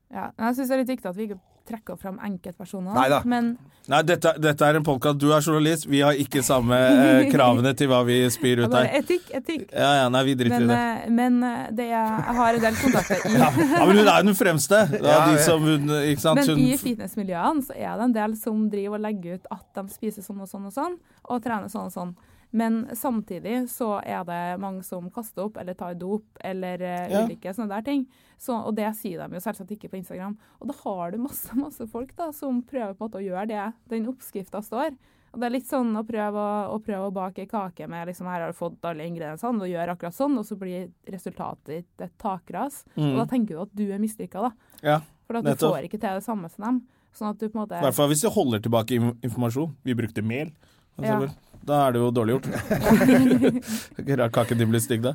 Ja. Men Jeg syns det er litt viktig at vi ikke trekker fram enkeltpersoner. Neida. Men Nei, dette, dette er en podkast. Du er journalist, vi har ikke samme eh, kravene til hva vi spyr jeg ut bare her. etikk, etikk. Ja, ja, nei, vi driter i Men, det. eh, men eh, det er, jeg har en del kontakter i Ja, men hun er jo den fremste. Ja, Ja, de ja. som, hun, ikke sant? Men hun, i fitnessmiljøene så er det en del som driver og legger ut at de spiser sånn og sånn og sånn, og trener sånn og sånn. Men samtidig så er det mange som kaster opp eller tar dop eller eh, Ja. ulike sånne der ting. Så, og det sier de jo selvsagt ikke på Instagram. Og da har du masse, masse folk da, som prøver på en måte å gjøre det den oppskrifta står. Og det er litt sånn å prøve å, å, prøve å bake kake med liksom, her har du fått alle ingrediensene, og gjør akkurat sånn, og så blir resultatet ditt et takras. Mm. Og da tenker du at du er mislykka, da. ja. For at du Nettopp. får ikke til det samme som dem. Sånn at du på en måte I hvert fall hvis de holder tilbake in- informasjon. Vi brukte mel. for Ja. eksempel. Da er det jo dårlig gjort. Ikke Rart kaken din blir stygg, da.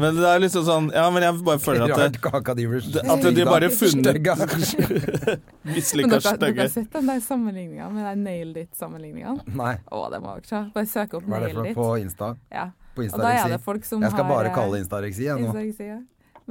Men det er liksom sånn Ja, men jeg bare føler at Rart det, kaka de blir at de bare funnet Stygga. Men mislykka dere, dere stygge har sett den der sammenligninga med den nail dit-sammenligninga? Nei, Å, det må dere se. Bare søk opp hva er det nail for noe dit. på Insta? Ja. På Og da er det Instareksi? folk som Jeg skal har bare eh, kalle det Instareksi jeg nå. Instareksi, ja.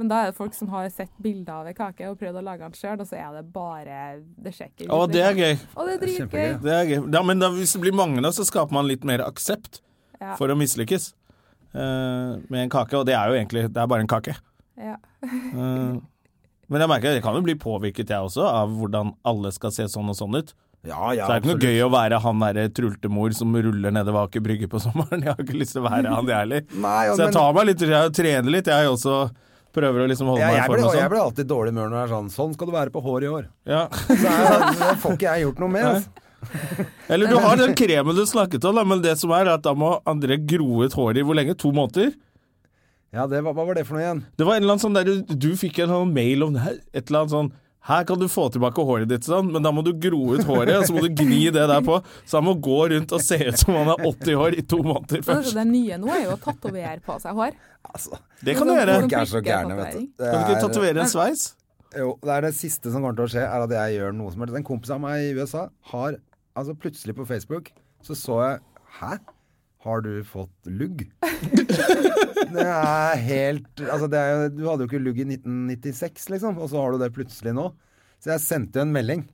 Men da er det folk som har sett bilder av ei kake og prøvd å lage den sjøl, og så er det bare Det ser ikke ut. liksom. Å, det er gøy. Å, det er dritgøy. Kjempegøy. Det er gøy. Ja, men da, hvis det blir mange, da, så skaper man litt mer aksept Ja. for å mislykkes eh, med en kake. Og det er jo egentlig Det er bare en kake. Ja. Eh, men jeg merker jeg kan jo bli påvirket, jeg også, av hvordan alle skal se sånn og sånn ut. Ja, ja, Så det er ikke absolutt. noe gøy å være han derre trultemor som ruller nede ved Aker Brygge på sommeren. Jeg har ikke lyst til å være han, jeg heller. Nei, Så jeg men- tar meg litt, jeg trener litt, jeg også. Prøver å liksom holde Ja, meg i jeg, form blir, og jeg sånn. blir alltid dårlig i humør når det er sånn Sånn skal du være på håret i år. Ja. Så er, det sånn, får ikke jeg gjort noe med. Altså. Eller du har den kremen du snakket om, da, men det som er, er at da må André gro ut håret i hvor lenge? To måneder? Ja, det, var- hva var det for noe igjen? Det var en eller annen sånn der, Du fikk en sånn mail om det her, et eller annet sånn her kan du få tilbake håret ditt, sånn, men da må du gro ut håret, og så må du gni det der på. Så han må gå rundt og se ut som han er 80 år i to måneder Men altså, først. det nye nå er jo å tatovere på seg hår. Altså, Det kan du gjøre. folk er så gærne, vet du. Det Kan du ikke er- tatovere en sveis? Jo, det er det siste som kommer til å skje, er at jeg gjør noe som helst. En kompis av meg i USA har altså plutselig på Facebook så så jeg Hæ? Har du fått lugg? det er helt Altså, det er, jo- du hadde jo ikke lugg i 1996, liksom, og så har du det plutselig nå. Så jeg sendte jo en melding.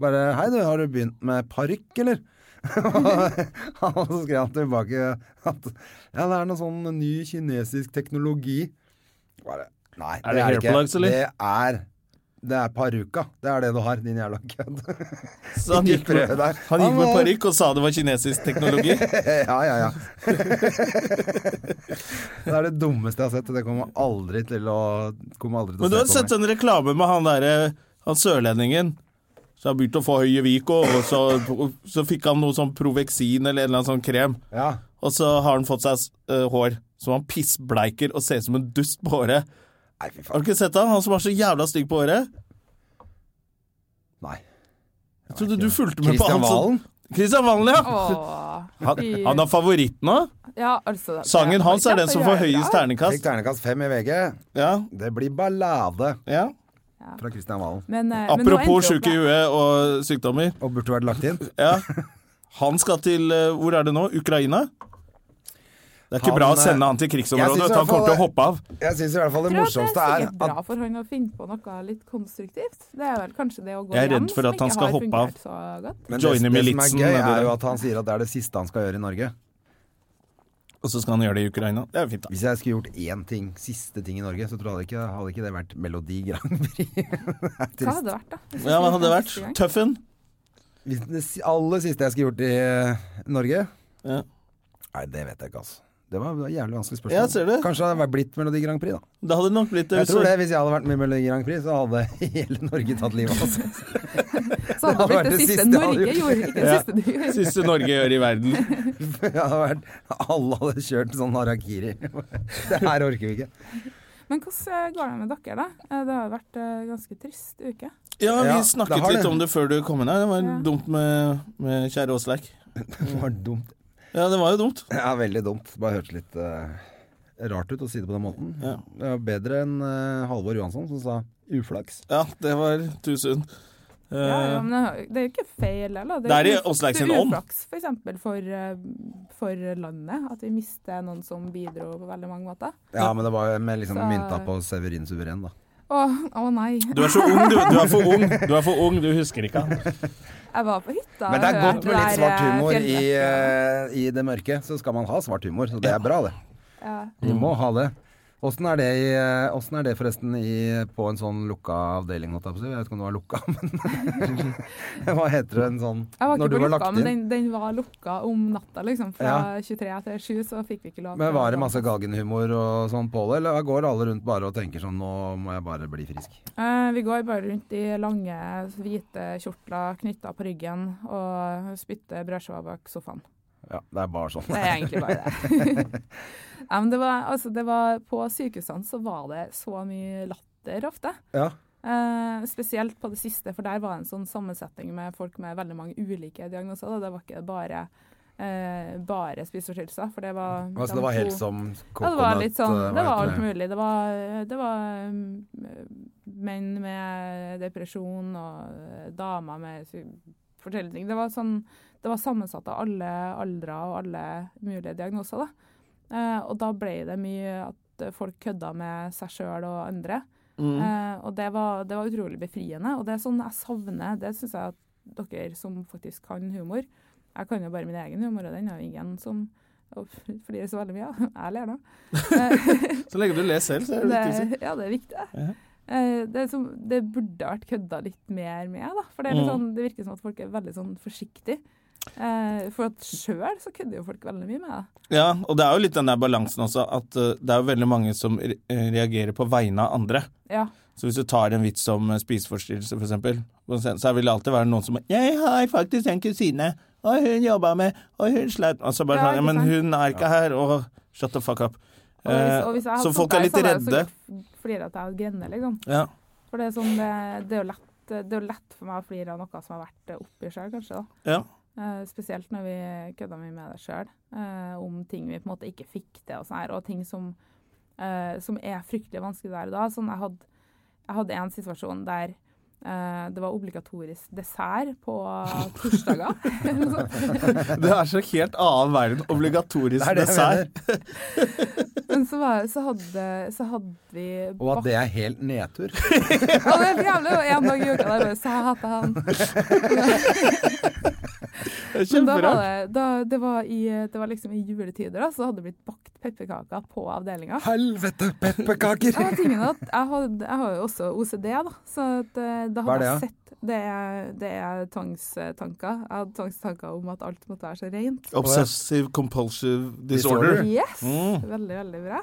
Bare 'Hei, du, har du begynt med parykk, eller?' og så skrev han tilbake at 'Ja, det er noe sånn ny kinesisk teknologi'. Bare Nei, Er det hair ikke. plugs, eller? Det er det er paruka. Det er det du har, din jævla kødd. Så han gikk med, Prøv deg. han gikk med var- parykk og sa det var kinesisk teknologi. Ja, ja, ja. det er det dummeste jeg har sett, og det kommer aldri til å Kommer aldri til Men du å har se sett på meg. en reklame med han derre han sørlendingen. Så han begynte å få høye viko, og så, så fikk han noe sånn Provexin eller en eller annen sånn krem. Ja. Og så har han fått seg eh, hår som han pissbleiker og ser ut som en dust på håret. Nei, fy Har faen. du ikke sett han? Han som er så jævla stygg på håret. Nei. Jeg trodde du fulgte med på Kristian han som Valen? Kristian Valen, ja! Åh, Han, han er favoritt nå. ja, altså, Sangen hans er den som får høyest Fikk terningkast. ternekast fem i VG. Ja, Det blir ballade ja. fra Kristian Valen. Men, eh, men nå endte Apropos jo opp sjuke i med- huet og sykdommer. Og burde vært lagt inn. Ja. Han skal til eh, Hvor er det nå? Ukraina? Det er ikke Han, bra å eh, sende han til jeg krigsområdet. synes i vet du, Han hvert fall kommer til å det- hoppe av. Jeg syns i hvert fall det Jeg tror at morsomste det er er sikkert at bra for han å finne på noe litt konstruktivt. Det er vel kanskje det å gå Jeg er hjem redd for som at han ikke skal har hoppe fungert så godt. men det, Joine det som er militsen gøy, nedi er der. jo at han sier at det er det siste han skal gjøre i Norge. Og så skal han gjøre det i Ukraina. Det er fint, da. Hvis jeg skulle gjort én ting, siste ting i Norge, så tror jeg ikke, hadde ikke det vært Melodi Grand Prix. Det er Hva trist. hadde det vært, da? Hvis vi Ja, Hva skulle hadde det gjort vært? siste gang? Tøffen? Hvis det si- aller siste jeg skulle gjort i eh, Norge Ja. Nei, det vet jeg ikke, altså. Det var et jævlig vanskelig spørsmål. Ja, ser du? Kanskje det hadde vært blitt Melodi Grand Prix, da. Det hadde nok blitt det. Jeg tror det, Hvis jeg hadde vært med i Melodi Grand Prix, så hadde hele Norge tatt livet av oss. Så hadde det blitt det siste jeg hadde Norge gjort. gjorde, ikke det Ja. siste du gjorde. Siste Norge gjør i verden. Jeg hadde vært, alle hadde kjørt sånn harakiri. Det her orker vi ikke. Men hvordan eh, går det med dere, da? Eh, Det har jo vært eh, ganske trist uke. Ja, vi Ja, det snakket har litt det. om det før du kom inn her. Det var Ja. dumt med, med kjære Åsleik. Det var dumt. Ja, det var jo dumt. Ja, veldig dumt. Bare hørtes litt eh, rart ut å si det på den måten. Ja. Det var bedre enn eh, Halvor Johansson, som sa uflaks. Ja, det var tusen. Ja, ja, Eh, men det har- det er jo ikke feil heller. Det er i jo uf- Åsleik sin det er ånd. Uflaks for eksempel for, eh, for landet, at vi mister noen som bidro på veldig mange måter. Ja, men det var jo med liksom Så- mynta på Severin Suveren, da. Å, å nei. Du er så ung, du. Du er for ung. Du er for ung, du husker ikke han. Jeg var på hytta. Men det er og godt hørte med litt det der, svart eh, humor i, fjellrekker. eh, i det mørke. Så skal man ha svart humor, så det er bra, det. Ja. Vi må ha det. Åssen er, det i, eh, hvordan er det forresten i, på en sånn lukka avdeling? holdt Jeg på å si? Jeg vet ikke om det var lukka, men Hva heter det en sånn Jeg var Når ikke du på var lukka, lagt men inn? den, den var lukka om natta, liksom. Fra 23 til 7, så fikk vi ikke lov. Men til Var å- det masse galgenhumor og sånn på det, eller går alle rundt bare og tenker sånn Nå må jeg bare bli frisk. Eh, vi går bare rundt i lange, hvite kjortler knytta på ryggen og spytter brødskiver bak sofaen. Ja, det er bare sånn. Det er egentlig bare det. ja, men det var, altså, det var, på sykehusene så var det så mye latter ofte. Ja. Eh, spesielt på det siste, for der var det en sånn sammensetning med folk med veldig mange ulike diagnoser. Da. Det var ikke bare, eh, bare spiseforstyrrelser. For det var Altså, de det var to- helt som ja, det var litt sånn, eh, hva det var heter alt mulig. Det var, det var mm, menn med depresjon og damer med sy- forskjellige ting. Det var, sånn, det var sammensatt av alle aldre og alle mulige diagnoser. Da. Eh, og da ble det mye at folk kødda med seg sjøl og andre. Eh, og det var, det var utrolig befriende. Og det er sånn jeg savner, det syns jeg at dere som faktisk kan humor Jeg kan jo bare min egen humor, og den har jo ingen som og flirer så veldig mye av. Jeg ler da. Så lenge du ler selv, så er det viktig. Det, ja, det er viktig. Ja. Eh, Det, er som, det burde vært kødda litt mer med, da. For det, Mm. er litt sånn, det virker som at folk er veldig sånn forsiktige. Eh, For at sjøl så kødder jo folk veldig mye med det. Ja, og det er jo litt den der balansen også, at eh, det er jo veldig mange som re- eh, reagerer på vegne av andre. Ja. Så hvis du tar en vits om eh, spiseforstyrrelse, for eksempel, og sen- så vil det alltid være noen som 'Jeg har faktisk en kusine, og hun jobba med, og hun sleit' Og så bare Ja, sånn 'Ja, ikke men sant?» hun er ikke her', og shut the fuck up. Og hvis, og Eh, hvis jeg hadde så stått folk der, er litt så hadde jeg redde. sikkert Fliret at jeg grener, liksom. Ja. For det er, sånn, det, det er jo lett det er jo lett for meg å flire av noe som jeg har vært eh, oppi sjøl, kanskje. da. ja. Eh, spesielt når vi kødda mye med det sjøl, eh, om ting vi på en måte ikke fikk til, og, sånn her, og ting som, eh, som er fryktelig vanskelig der og da. Sånn, jeg, hadde, jeg hadde en situasjon der eh, det var obligatorisk dessert på torsdager. eller noe sånt. Det er så helt annen verden. Obligatorisk Det er det jeg dessert. Men så, var, så, hadde, så hadde vi Og at det er helt nedtur. Å, det er så jævlig! Og en dag i uka der bare Så jeg hater han. Det er Men da var Kjemperart. det, da, det, var i, det var liksom i juletider, da, så hadde det blitt bakt pepperkaker på avdelinga. Helvete, pepperkaker! Ja, tingen er at jeg, hadde, jeg har jo også OCD, da. Så at, eh, da Hva er hadde jeg det, sett det er, det er tvangstanker. Jeg hadde tvangstanker om at alt måtte være så rent. Obsessive compulsive disorder. Disorder. Yes! Mm. Veldig, veldig bra.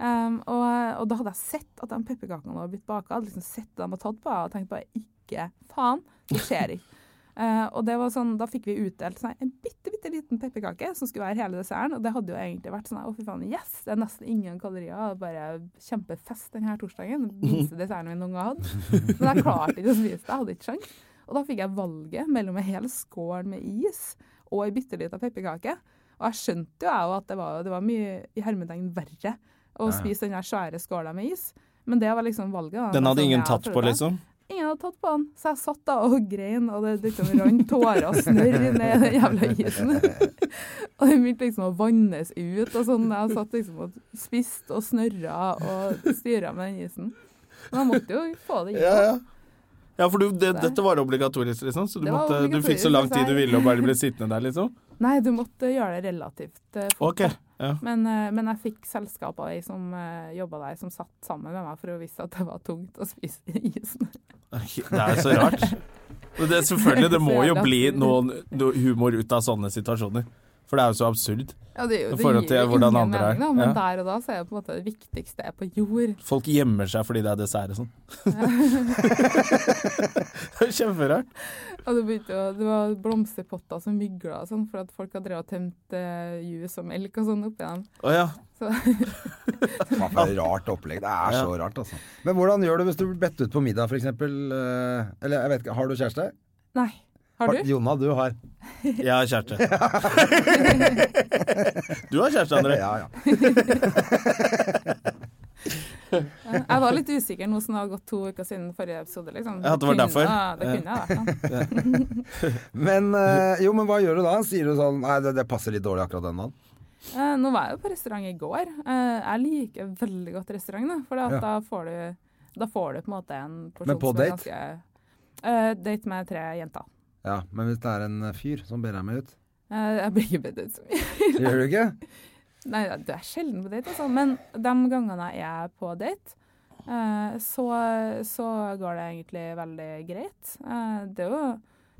Um, og, og da hadde jeg sett at de pepperkakene var blitt baka. Hadde liksom sett at de var tatt på, og tenkt bare ikke faen, det skjer ikke. Eh, og det var sånn, Da fikk vi utdelt sånn, en bitte bitte liten pepperkake som skulle være hele desserten. Og det hadde jo egentlig vært sånn Å, fy faen, yes! Det er nesten ingen kalorier. og Bare kjempefest denne torsdagen. Den minste desserten vi noen gang hadde. Men jeg klarte ikke å spise det. Jeg hadde ikke sjans. Og da fikk jeg valget mellom en hel skål med is og ei bitte lita pepperkake. Og jeg skjønte jo jeg jo at det var, det var mye i hermetegn verre å spise den der svære skåla med is. Men det var liksom valget. da. Den hadde Som ingen jeg tatt på, prøvde. liksom? Ingen hadde tatt på den. Så jeg satt da og grein, og det liksom rant tårer og snørr ned den jævla isen. og den begynte liksom å vannes ut og sånn. Jeg satt liksom og spiste og snørra og styra med den isen. Men jeg måtte jo få det i. Ja, ja. Ja, for du, det, dette var obligatorisk, liksom, så du, Det var måtte, du fikk så lang tid du ville og bare ble sittende der, liksom? Nei, du måtte gjøre det relativt eh, fort. Ok. Ja. Men, eh, men jeg fikk selskap av ei som eh, jobba der, som satt sammen med meg for å vise at det var tungt å spise isen. Det er så rart. Og Det, selvfølgelig, det må jo bli noen noe humor ut av sånne situasjoner. For det er jo så absurd. Ja, det, er jo- I det forhold til gir jo hvordan ingen andre er. mening, da, men Ja. der og da så er det på en måte det viktigste er på jord. Folk gjemmer seg fordi det er dessert og sånn. det er kjemperart. Og det, begynte, å- det var blomsterpotter som mygla og sånn, for at folk hadde drevet og tømt eh, jus og melk og sånn oppi dem. Å ja. Hva for et rart opplegg. Det er så rart, altså. Men hvordan gjør du hvis du blir bedt ut på middag, f.eks.? Eller jeg vet ikke, har du kjæreste? Nei. Har du? Jonna, du har. Jeg har kjæreste. Du har kjæreste, André. Ja, ja. Jeg var litt usikker nå som det har gått to uker siden forrige episode, liksom. Ja, at det var derfor. Ja, det kunne jeg vært. da. Men, eh, jo, men hva gjør du da? Sier du sånn Nei, det, det passer litt dårlig akkurat den dagen. Eh, nå var jeg jo på restaurant i går. Eh, jeg liker veldig godt restaurant, da, for Ja. da, får du, da får du på en måte en porsjon Men på som er date? ganske- Eh, date med tre jenter. Ja, men hvis det er en eh, fyr som ber deg med ut Eh, jeg blir ikke bedt ut så mye. Gjør du ikke? Nei, du er sjelden på date, altså. Men de gangene jeg er på date, eh, så, så går det egentlig veldig greit. Eh, det er jo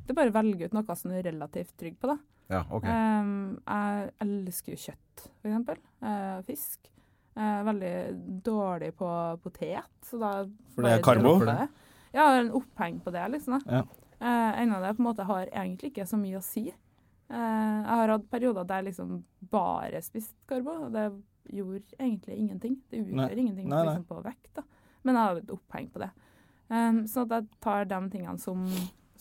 det er bare å velge ut noe som du er relativt trygg på, da. Ja, ok. Um, jeg elsker jo kjøtt, for eksempel. Eh, fisk. Eh, veldig dårlig på potet. Så da For det er bare karbo? dropper jeg det. Ja, en oppheng på det, liksom. Da. Ja. Eh, en av det på en måte har egentlig ikke så mye å si. Eh, jeg har hatt perioder der jeg liksom bare spist karbo, og det gjorde egentlig ingenting. Det Nei. utgjør ingenting Nei, nei. Liksom, på vekt, da. men jeg har et oppheng på det. Um, så at jeg tar de tingene som,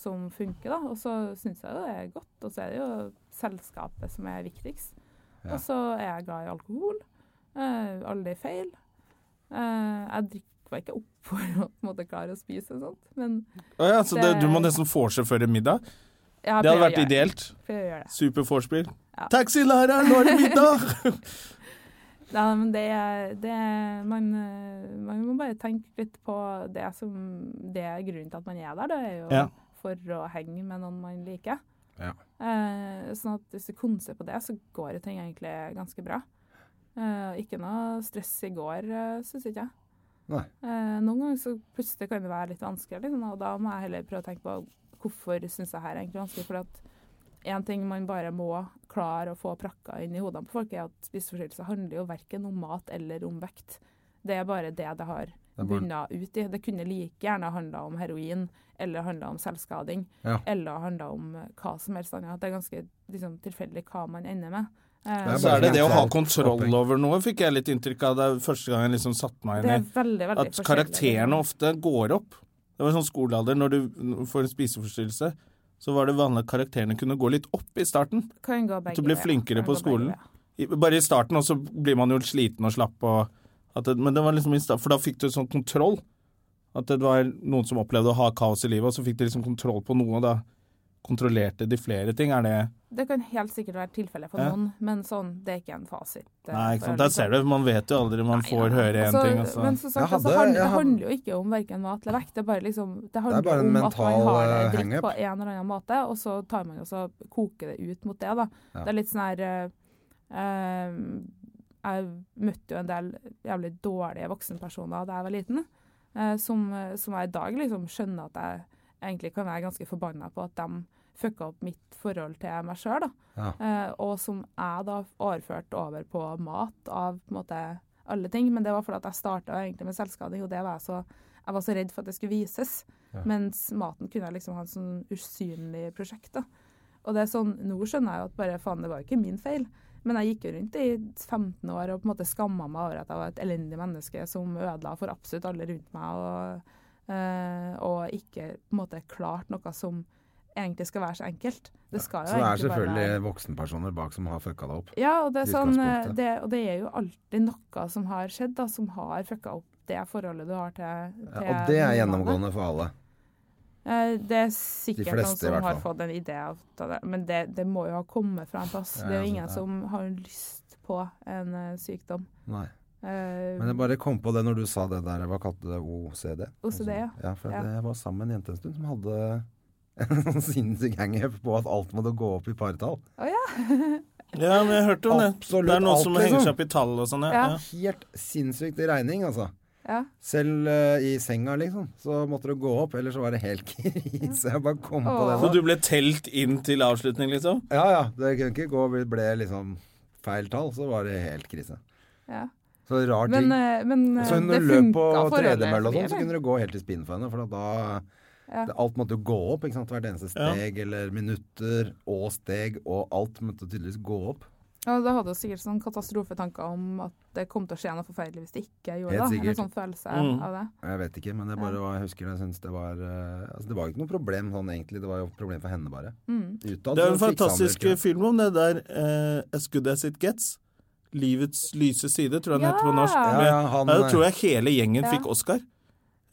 som funker, da, og så syns jeg jo det er godt. Og så er det jo selskapet som er viktigst. Ja. Og så er jeg glad i alkohol. Uh, aldri feil. Eh, jeg drikker meg ikke opp for å på en måte klare å spise og sånt, men Å ja, så det, du må nesten vorse før en middag? jeg Det hadde pleier å vært gjøre ideelt. Pleier å gjøre det. Super vorspiel. Ja. Taxilærer, nå er det middag! Nei, men det, er- det er- man, eh, man må bare tenke litt på det som Det er grunnen til at man er der, det er jo Ja. for å henge med noen man liker. Ja. Eh, sånn at hvis du konser på det, så går jo ting egentlig ganske bra. Eh, ikke noe stress i går, eh, syns ikke jeg. Nei. Eh, noen ganger så plutselig kan det være litt vanskelig, liksom, og da må jeg heller prøve å tenke på hvorfor syns jeg her er egentlig vanskelig. For at en ting man bare må klare å få prakka inn i hodene på folk, er at spiseforstyrrelser handler jo verken om mat eller om vekt. Det er bare det det har er bare- bunna ut i. Det kunne like gjerne handla om heroin, eller handla om selvskading, Ja. eller handla om eh, hva som helst annet. Det er ganske liksom, tilfeldig hva man ender med. Eh, Det er Så er det det å ha Mentalt kontroll opplegg. over noe, fikk jeg litt inntrykk av det første gang jeg liksom satte meg det inn er i. veldig, veldig At forskjellig. karakterene ofte går opp. Det var sånn skolealder, når du får en spiseforstyrrelse, så var det vanlig at karakterene kunne gå litt opp i starten. kan gå begge du blir veier. flinkere Kan på gå begge skolen. veier. I- Bare i starten, og så blir man jo sliten og slapp og at det, Men det var liksom i starten, for da fikk du sånn kontroll. At det var noen som opplevde å ha kaos i livet, og så fikk de liksom kontroll på noe, og da kontrollerte de flere ting. Er det Det kan helt sikkert være tilfellet for Ja. noen, men sånn, det er ikke en fasit. eh, Nei, ikke for sant. Der ser du. Man vet jo aldri. Man får høre én Altså, ting, og så Men som Jeg sagt, altså, hadde- jeg handler, det hadde- handler jo ikke om verken mat eller vekt. Det er bare, liksom, det handler bare en om at mental, man har eh, det dritt hang-up. på en eller annen måte, og så tar man og så koker det ut mot det. Da. Det er litt sånn her eh, eh, Jeg møtte jo en del jævlig dårlige voksenpersoner da jeg var liten, eh, som, som jeg i dag liksom skjønner at jeg egentlig kan være ganske forbanna på at de fucka opp mitt forhold til meg sjøl. Ja. Eh, og som jeg da overførte over på mat av på en måte alle ting. Men det var fordi at jeg starta egentlig med selvskading, og det var jeg så jeg var så redd for at det skulle vises. Mens maten kunne jeg liksom ha en sånn usynlig prosjekt. da. Og det er sånn, Nå skjønner jeg jo at bare faen, det var jo ikke min feil. Men jeg gikk jo rundt i 15 år og på en måte skamma meg over at jeg var et elendig menneske som ødela for absolutt alle rundt meg, og, eh, og ikke på en måte måte klart noe som egentlig skal være så enkelt. Det skal jo Så det er egentlig bare være- selvfølgelig voksenpersoner bak som har fucka deg opp. ja, og det, er sånn, eh, Utgangspunktet. det, og det er jo alltid noe som har skjedd, da, som har fucka opp det forholdet du har til, Ja, til og det er vennene. gjennomgående for alle. Eh, Det er De sikkert fleste, i hvert noen som har fall. fått en idé av det, men det, det må jo ha kommet fra en plass. Ja, det ja, er jo ingen sant, ja. som har lyst på en eh, sykdom. Nei. Eh, Men jeg bare kom på det når du sa det der, hva kalte du det, OCD? OCD, ja. Ja, for at Ja. jeg var sammen med en jente en stund som hadde en sånn sinnssyk hangup på at alt måtte gå opp i partall. Ja, men jeg hørte om det. Absolutt det er noe alt, som liksom. henger seg opp i tall og sånn, ja. Ja. ja. Helt sinnssykt i regning, altså. ja. Selv eh, i senga, liksom, så måtte du gå opp, ellers så var det helt krise. Jeg bare kom på det Åh. Så nå. du ble telt inn til avslutning, liksom? Ja ja, det kunne ikke gå, det ble liksom feil tall, så var det helt krise. ja. Så rar ting. Men, eh, men eh, Så når det du løp funka på forholdet. tredemølla og sånn, så eller? kunne du gå helt i spinn for henne. For at da Ja. det- Alt måtte jo gå opp. ikke sant? Hvert eneste steg eller minutter og steg og alt måtte tydeligvis gå opp. Ja, Da hadde du sikkert sånn katastrofetanker om at det kom til å skje noe forferdelig hvis det ikke gjorde Helt det. da. sikkert. En sånn følelse Mm. av det. Jeg vet ikke, men det bare var, jeg husker jeg synes det var eh, altså Det var jo ikke noe problem sånn egentlig, det var jo et problem for henne bare. Mm. Utad Det er jo en så fiksa han det fantastisk ikke. film om det der eh, As Good As It Gets. Livets lyse side, tror jeg den Ja! heter på norsk. Ja, eh, Med- ja, han- da tror jeg hele gjengen Ja. fikk Oscar.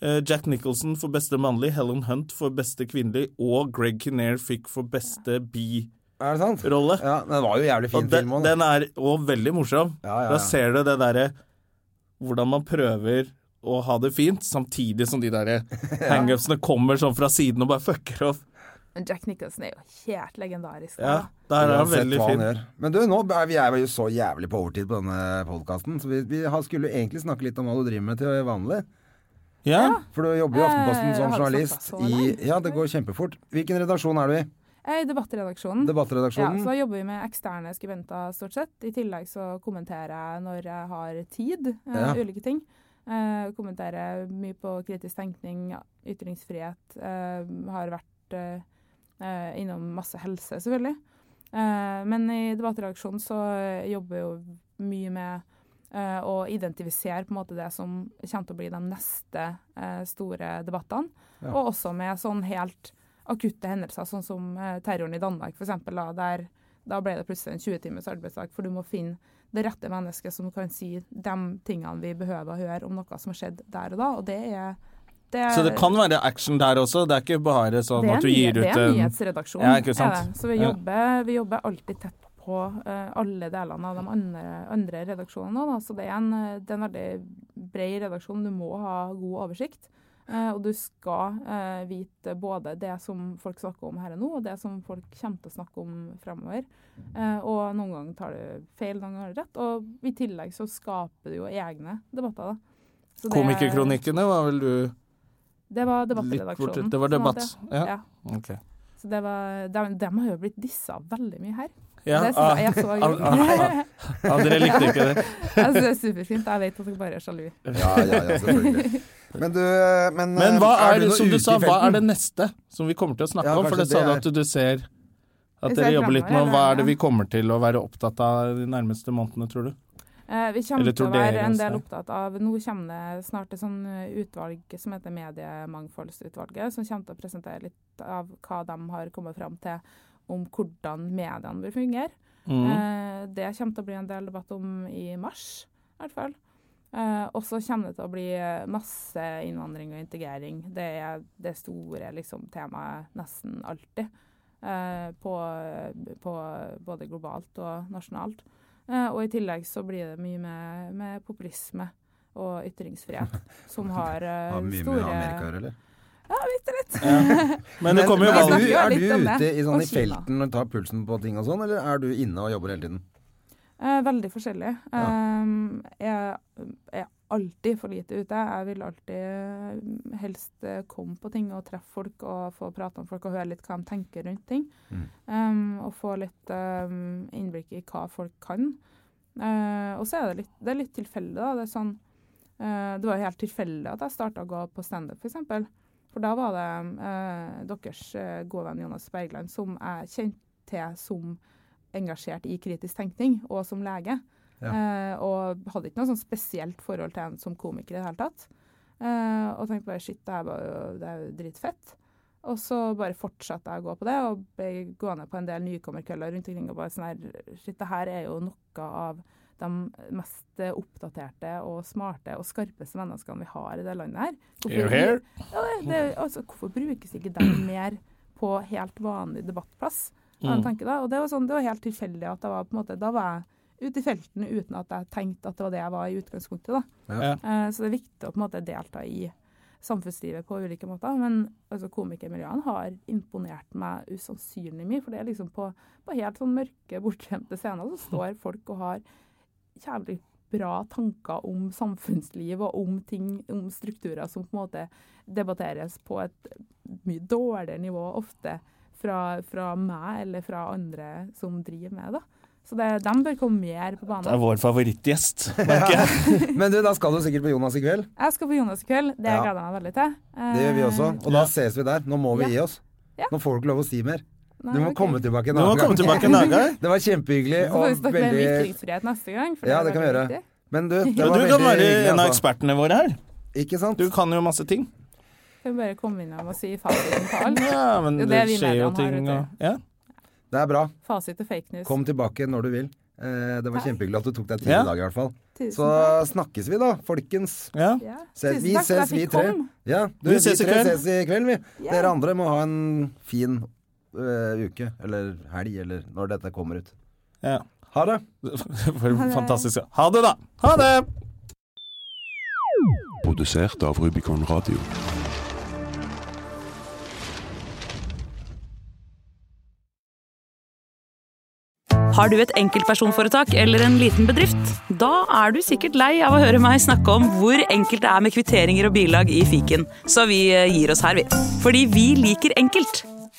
Eh, Jack Nicholson for beste mannlig, Helen Hunt for beste kvinnelig, og Greg Kinnear fikk for beste bi-rolle. Er det sant? Ja, men det var jo jævlig Og fin den, film òg, da. den er òg veldig morsom. Ja, ja, Da ja. ser du det derre Hvordan man prøver å ha det fint, samtidig som de derre hangupsene kommer sånn fra siden og bare fucker opp. Men Jack Nicholson er jo helt legendarisk. Ja, da. der er han Uansett veldig hva han fin. gjør. Men du, nå er vi er jo så jævlig på overtid på denne podkasten, så vi, vi har- skulle jo egentlig snakke litt om hva du driver med til vanlig. Ja. For du jobber jo i Aftenposten Eh, som har det journalist satt seg så i Ja, det går kjempefort. Hvilken redaksjon er du i? Jeg er i Eh, debattredaksjonen. Mm. Ja, så Debattredaksjonen? da jobber vi med eksterne skribenter stort sett. I tillegg så kommenterer jeg når jeg har tid, eh, Ja. ulike ting. Eh, kommenterer mye på kritisk tenkning, ja, ytringsfrihet. Eh, har vært eh, eh, innom masse helse, selvfølgelig. Eh, men i debattredaksjonen så eh, jobber jeg jo mye med eh, å identifisere på en måte det som kommer til å bli de neste eh, store debattene. Og også med sånn helt akutte hendelser, sånn som eh, terroren i Danmark f.eks. Da, der- da ble det plutselig en 20 timers arbeidsdag, for du må finne det rette mennesket som kan si de tingene vi behøver å høre om noe som har skjedd der og da. Og det er, det er Så det kan være action der også. Det er ikke bare sånn eh, det er at du en ny- gir ut Det er en en nyhetsredaksjon. Ja, ikke er sant? det. Så vi Ja. jobber, vi jobber alltid tett på eh, alle delene av de andre, andre redaksjonene. også, Da. Så det er, en, eh, det er en veldig bred redaksjon. Du må ha god oversikt. eh, og du skal eh, vite både det som folk snakker om her og nå, og det som folk kommer til å snakke om fremover. Eh, og noen ganger tar du feil, noen ganger har du rett. Og i tillegg så skaper du jo egne debatter, da. Så det- Komikerkronikkene var vel du Det var litt borti debattredaksjonen. Det var sånn at debatt. det- Ja. ja. Så det var, de, de har jo blitt dissa veldig mye her. Ja, det ah, synes jeg er så ah, ah, gøy. ah, dere likte ikke det. Jeg synes det er superfint. Jeg vet at dere bare er sjalu. Ja, ja, ja, selvfølgelig. Men du eh, Men, Men hva er, du det, noe som du ute i sa, hva felten? er det neste som vi kommer til å snakke Ja, om? For det kanskje sa du det at du ser at Vi dere ser jobber litt med fremover, hva er det ja. vi kommer til å være opptatt av de nærmeste månedene, tror du? Eh, vi kommer Eller til å tror dere være en del også. opptatt av Nå kommer det snart et sånn eh, utvalg som heter Mediemangfoldsutvalget, som kommer til å presentere litt av hva de har kommet fram til om hvordan mediene bør fungere. Mm. Mm. Eh, det kommer til å bli en del debatt om i mars, i hvert fall. Eh, og så kommer det til å bli masse innvandring og integrering. Det er det store liksom, temaet nesten alltid. eh, på, på både globalt og nasjonalt. Eh, og i tillegg så blir det mye med, med populisme og ytringsfrihet, som har, eh, Har mye store med Amerika å gjøre, eller? Men det kommer jo men- er valg. du, er Vi snakker jo litt om du ute det, i, og sånn, i Kina. felten og tar pulsen på ting og sånn, eller er du inne og jobber hele tiden? Eh, veldig forskjellig. Um, jeg er alltid for lite ute. Jeg vil alltid um, helst eh, komme på ting og treffe folk og få prate om folk og høre litt hva de tenker rundt ting. Um, og få litt um, innblikk i hva folk kan. Eh, og så er det litt, det er litt tilfeldig, da. Det, er sånn, eh, det var jo helt tilfeldig at jeg starta å gå på standup, f.eks. For, for da var det eh, deres eh, gode venn Jonas Bergland som jeg kjente til som engasjert i kritisk tenkning, og som lege. Eh, og hadde ikke noe sånn spesielt forhold til en som komiker i det hele tatt. Eh, og tenkte bare shit, det her var jo, det er jo dritfett. Og så bare fortsatte jeg å gå på det, og ble gående på en del nykommerkvelder rundt omkring og bare sånn her Shit, det her er jo noe av de mest eh, oppdaterte og smarte og skarpeste menneskene vi har i det landet her. Hear, hear. Ja, det, det, altså, hvorfor brukes ikke de mer på helt vanlig debattplass? av Mm. en tanke da? Og det var, sånn, det var helt tilfeldig at jeg var på en måte, da var jeg ute i felten uten at jeg tenkte at det var det jeg var i utgangspunktet. da. Ja. Eh, Så det er viktig å på en måte delta i samfunnslivet på ulike måter. Men altså, komikermiljøene har imponert meg usannsynlig mye. For det er liksom på, på helt sånn mørke, bortgjemte scener så står folk og har jævlig bra tanker om samfunnsliv og om ting, om strukturer som på en måte debatteres på et mye dårligere nivå ofte fra, fra meg eller fra andre som driver med det. Så det, de bør komme mer på Det er banen. vår favorittgjest, merker jeg. Men du, da skal du sikkert på Jonas i kveld. Jeg skal på Jonas i kveld, det Ja. gleder jeg meg veldig til. Eh, Det gjør vi også. Og da Ja. ses vi der. Nå må vi Ja. gi oss. Ja. Nå får du ikke lov å si mer. Nei, Du må ok. komme tilbake en Du må annen komme gang. tilbake en dag. Det var kjempehyggelig Så får vi og snakke mer om veldig ytringsfrihet neste gang. For Ja, er det kan vi veldig gjøre. viktig. Men du, det Men var du kan veldig være hyggelig, en av altså. ekspertene våre her. Ikke sant? Du kan jo masse ting. Skal vi bare komme innom og si fasiten på alt? Ja, men Det er det det vi skjer jo mediene har, ting vet du. og ja. Det er bra. Fasit og fake news. Kom tilbake når du vil. Eh, Det var kjempehyggelig at du tok deg tid Ja. i dag, i hvert fall. Tusen Så takk. snakkes vi, da, folkens. ja. Ja. Ses, Tusen vi takk for ses, at jeg vi fikk tre. komme. Ja, du, Vi vi ses i tre kveld. ses i kveld, vi. Ja. Dere andre må ha en fin eh, uke, eller helg, eller når dette kommer ut. ja. Ha det! For fantastisk. Ha det, da. Ha det! Produsert av Rubicon Radio. Har du et enkeltpersonforetak eller en liten bedrift? Da er du sikkert lei av å høre meg snakke om hvor enkelt det er med kvitteringer og bilag i fiken, så vi eh, gir oss her, vi. Fordi vi liker enkelt.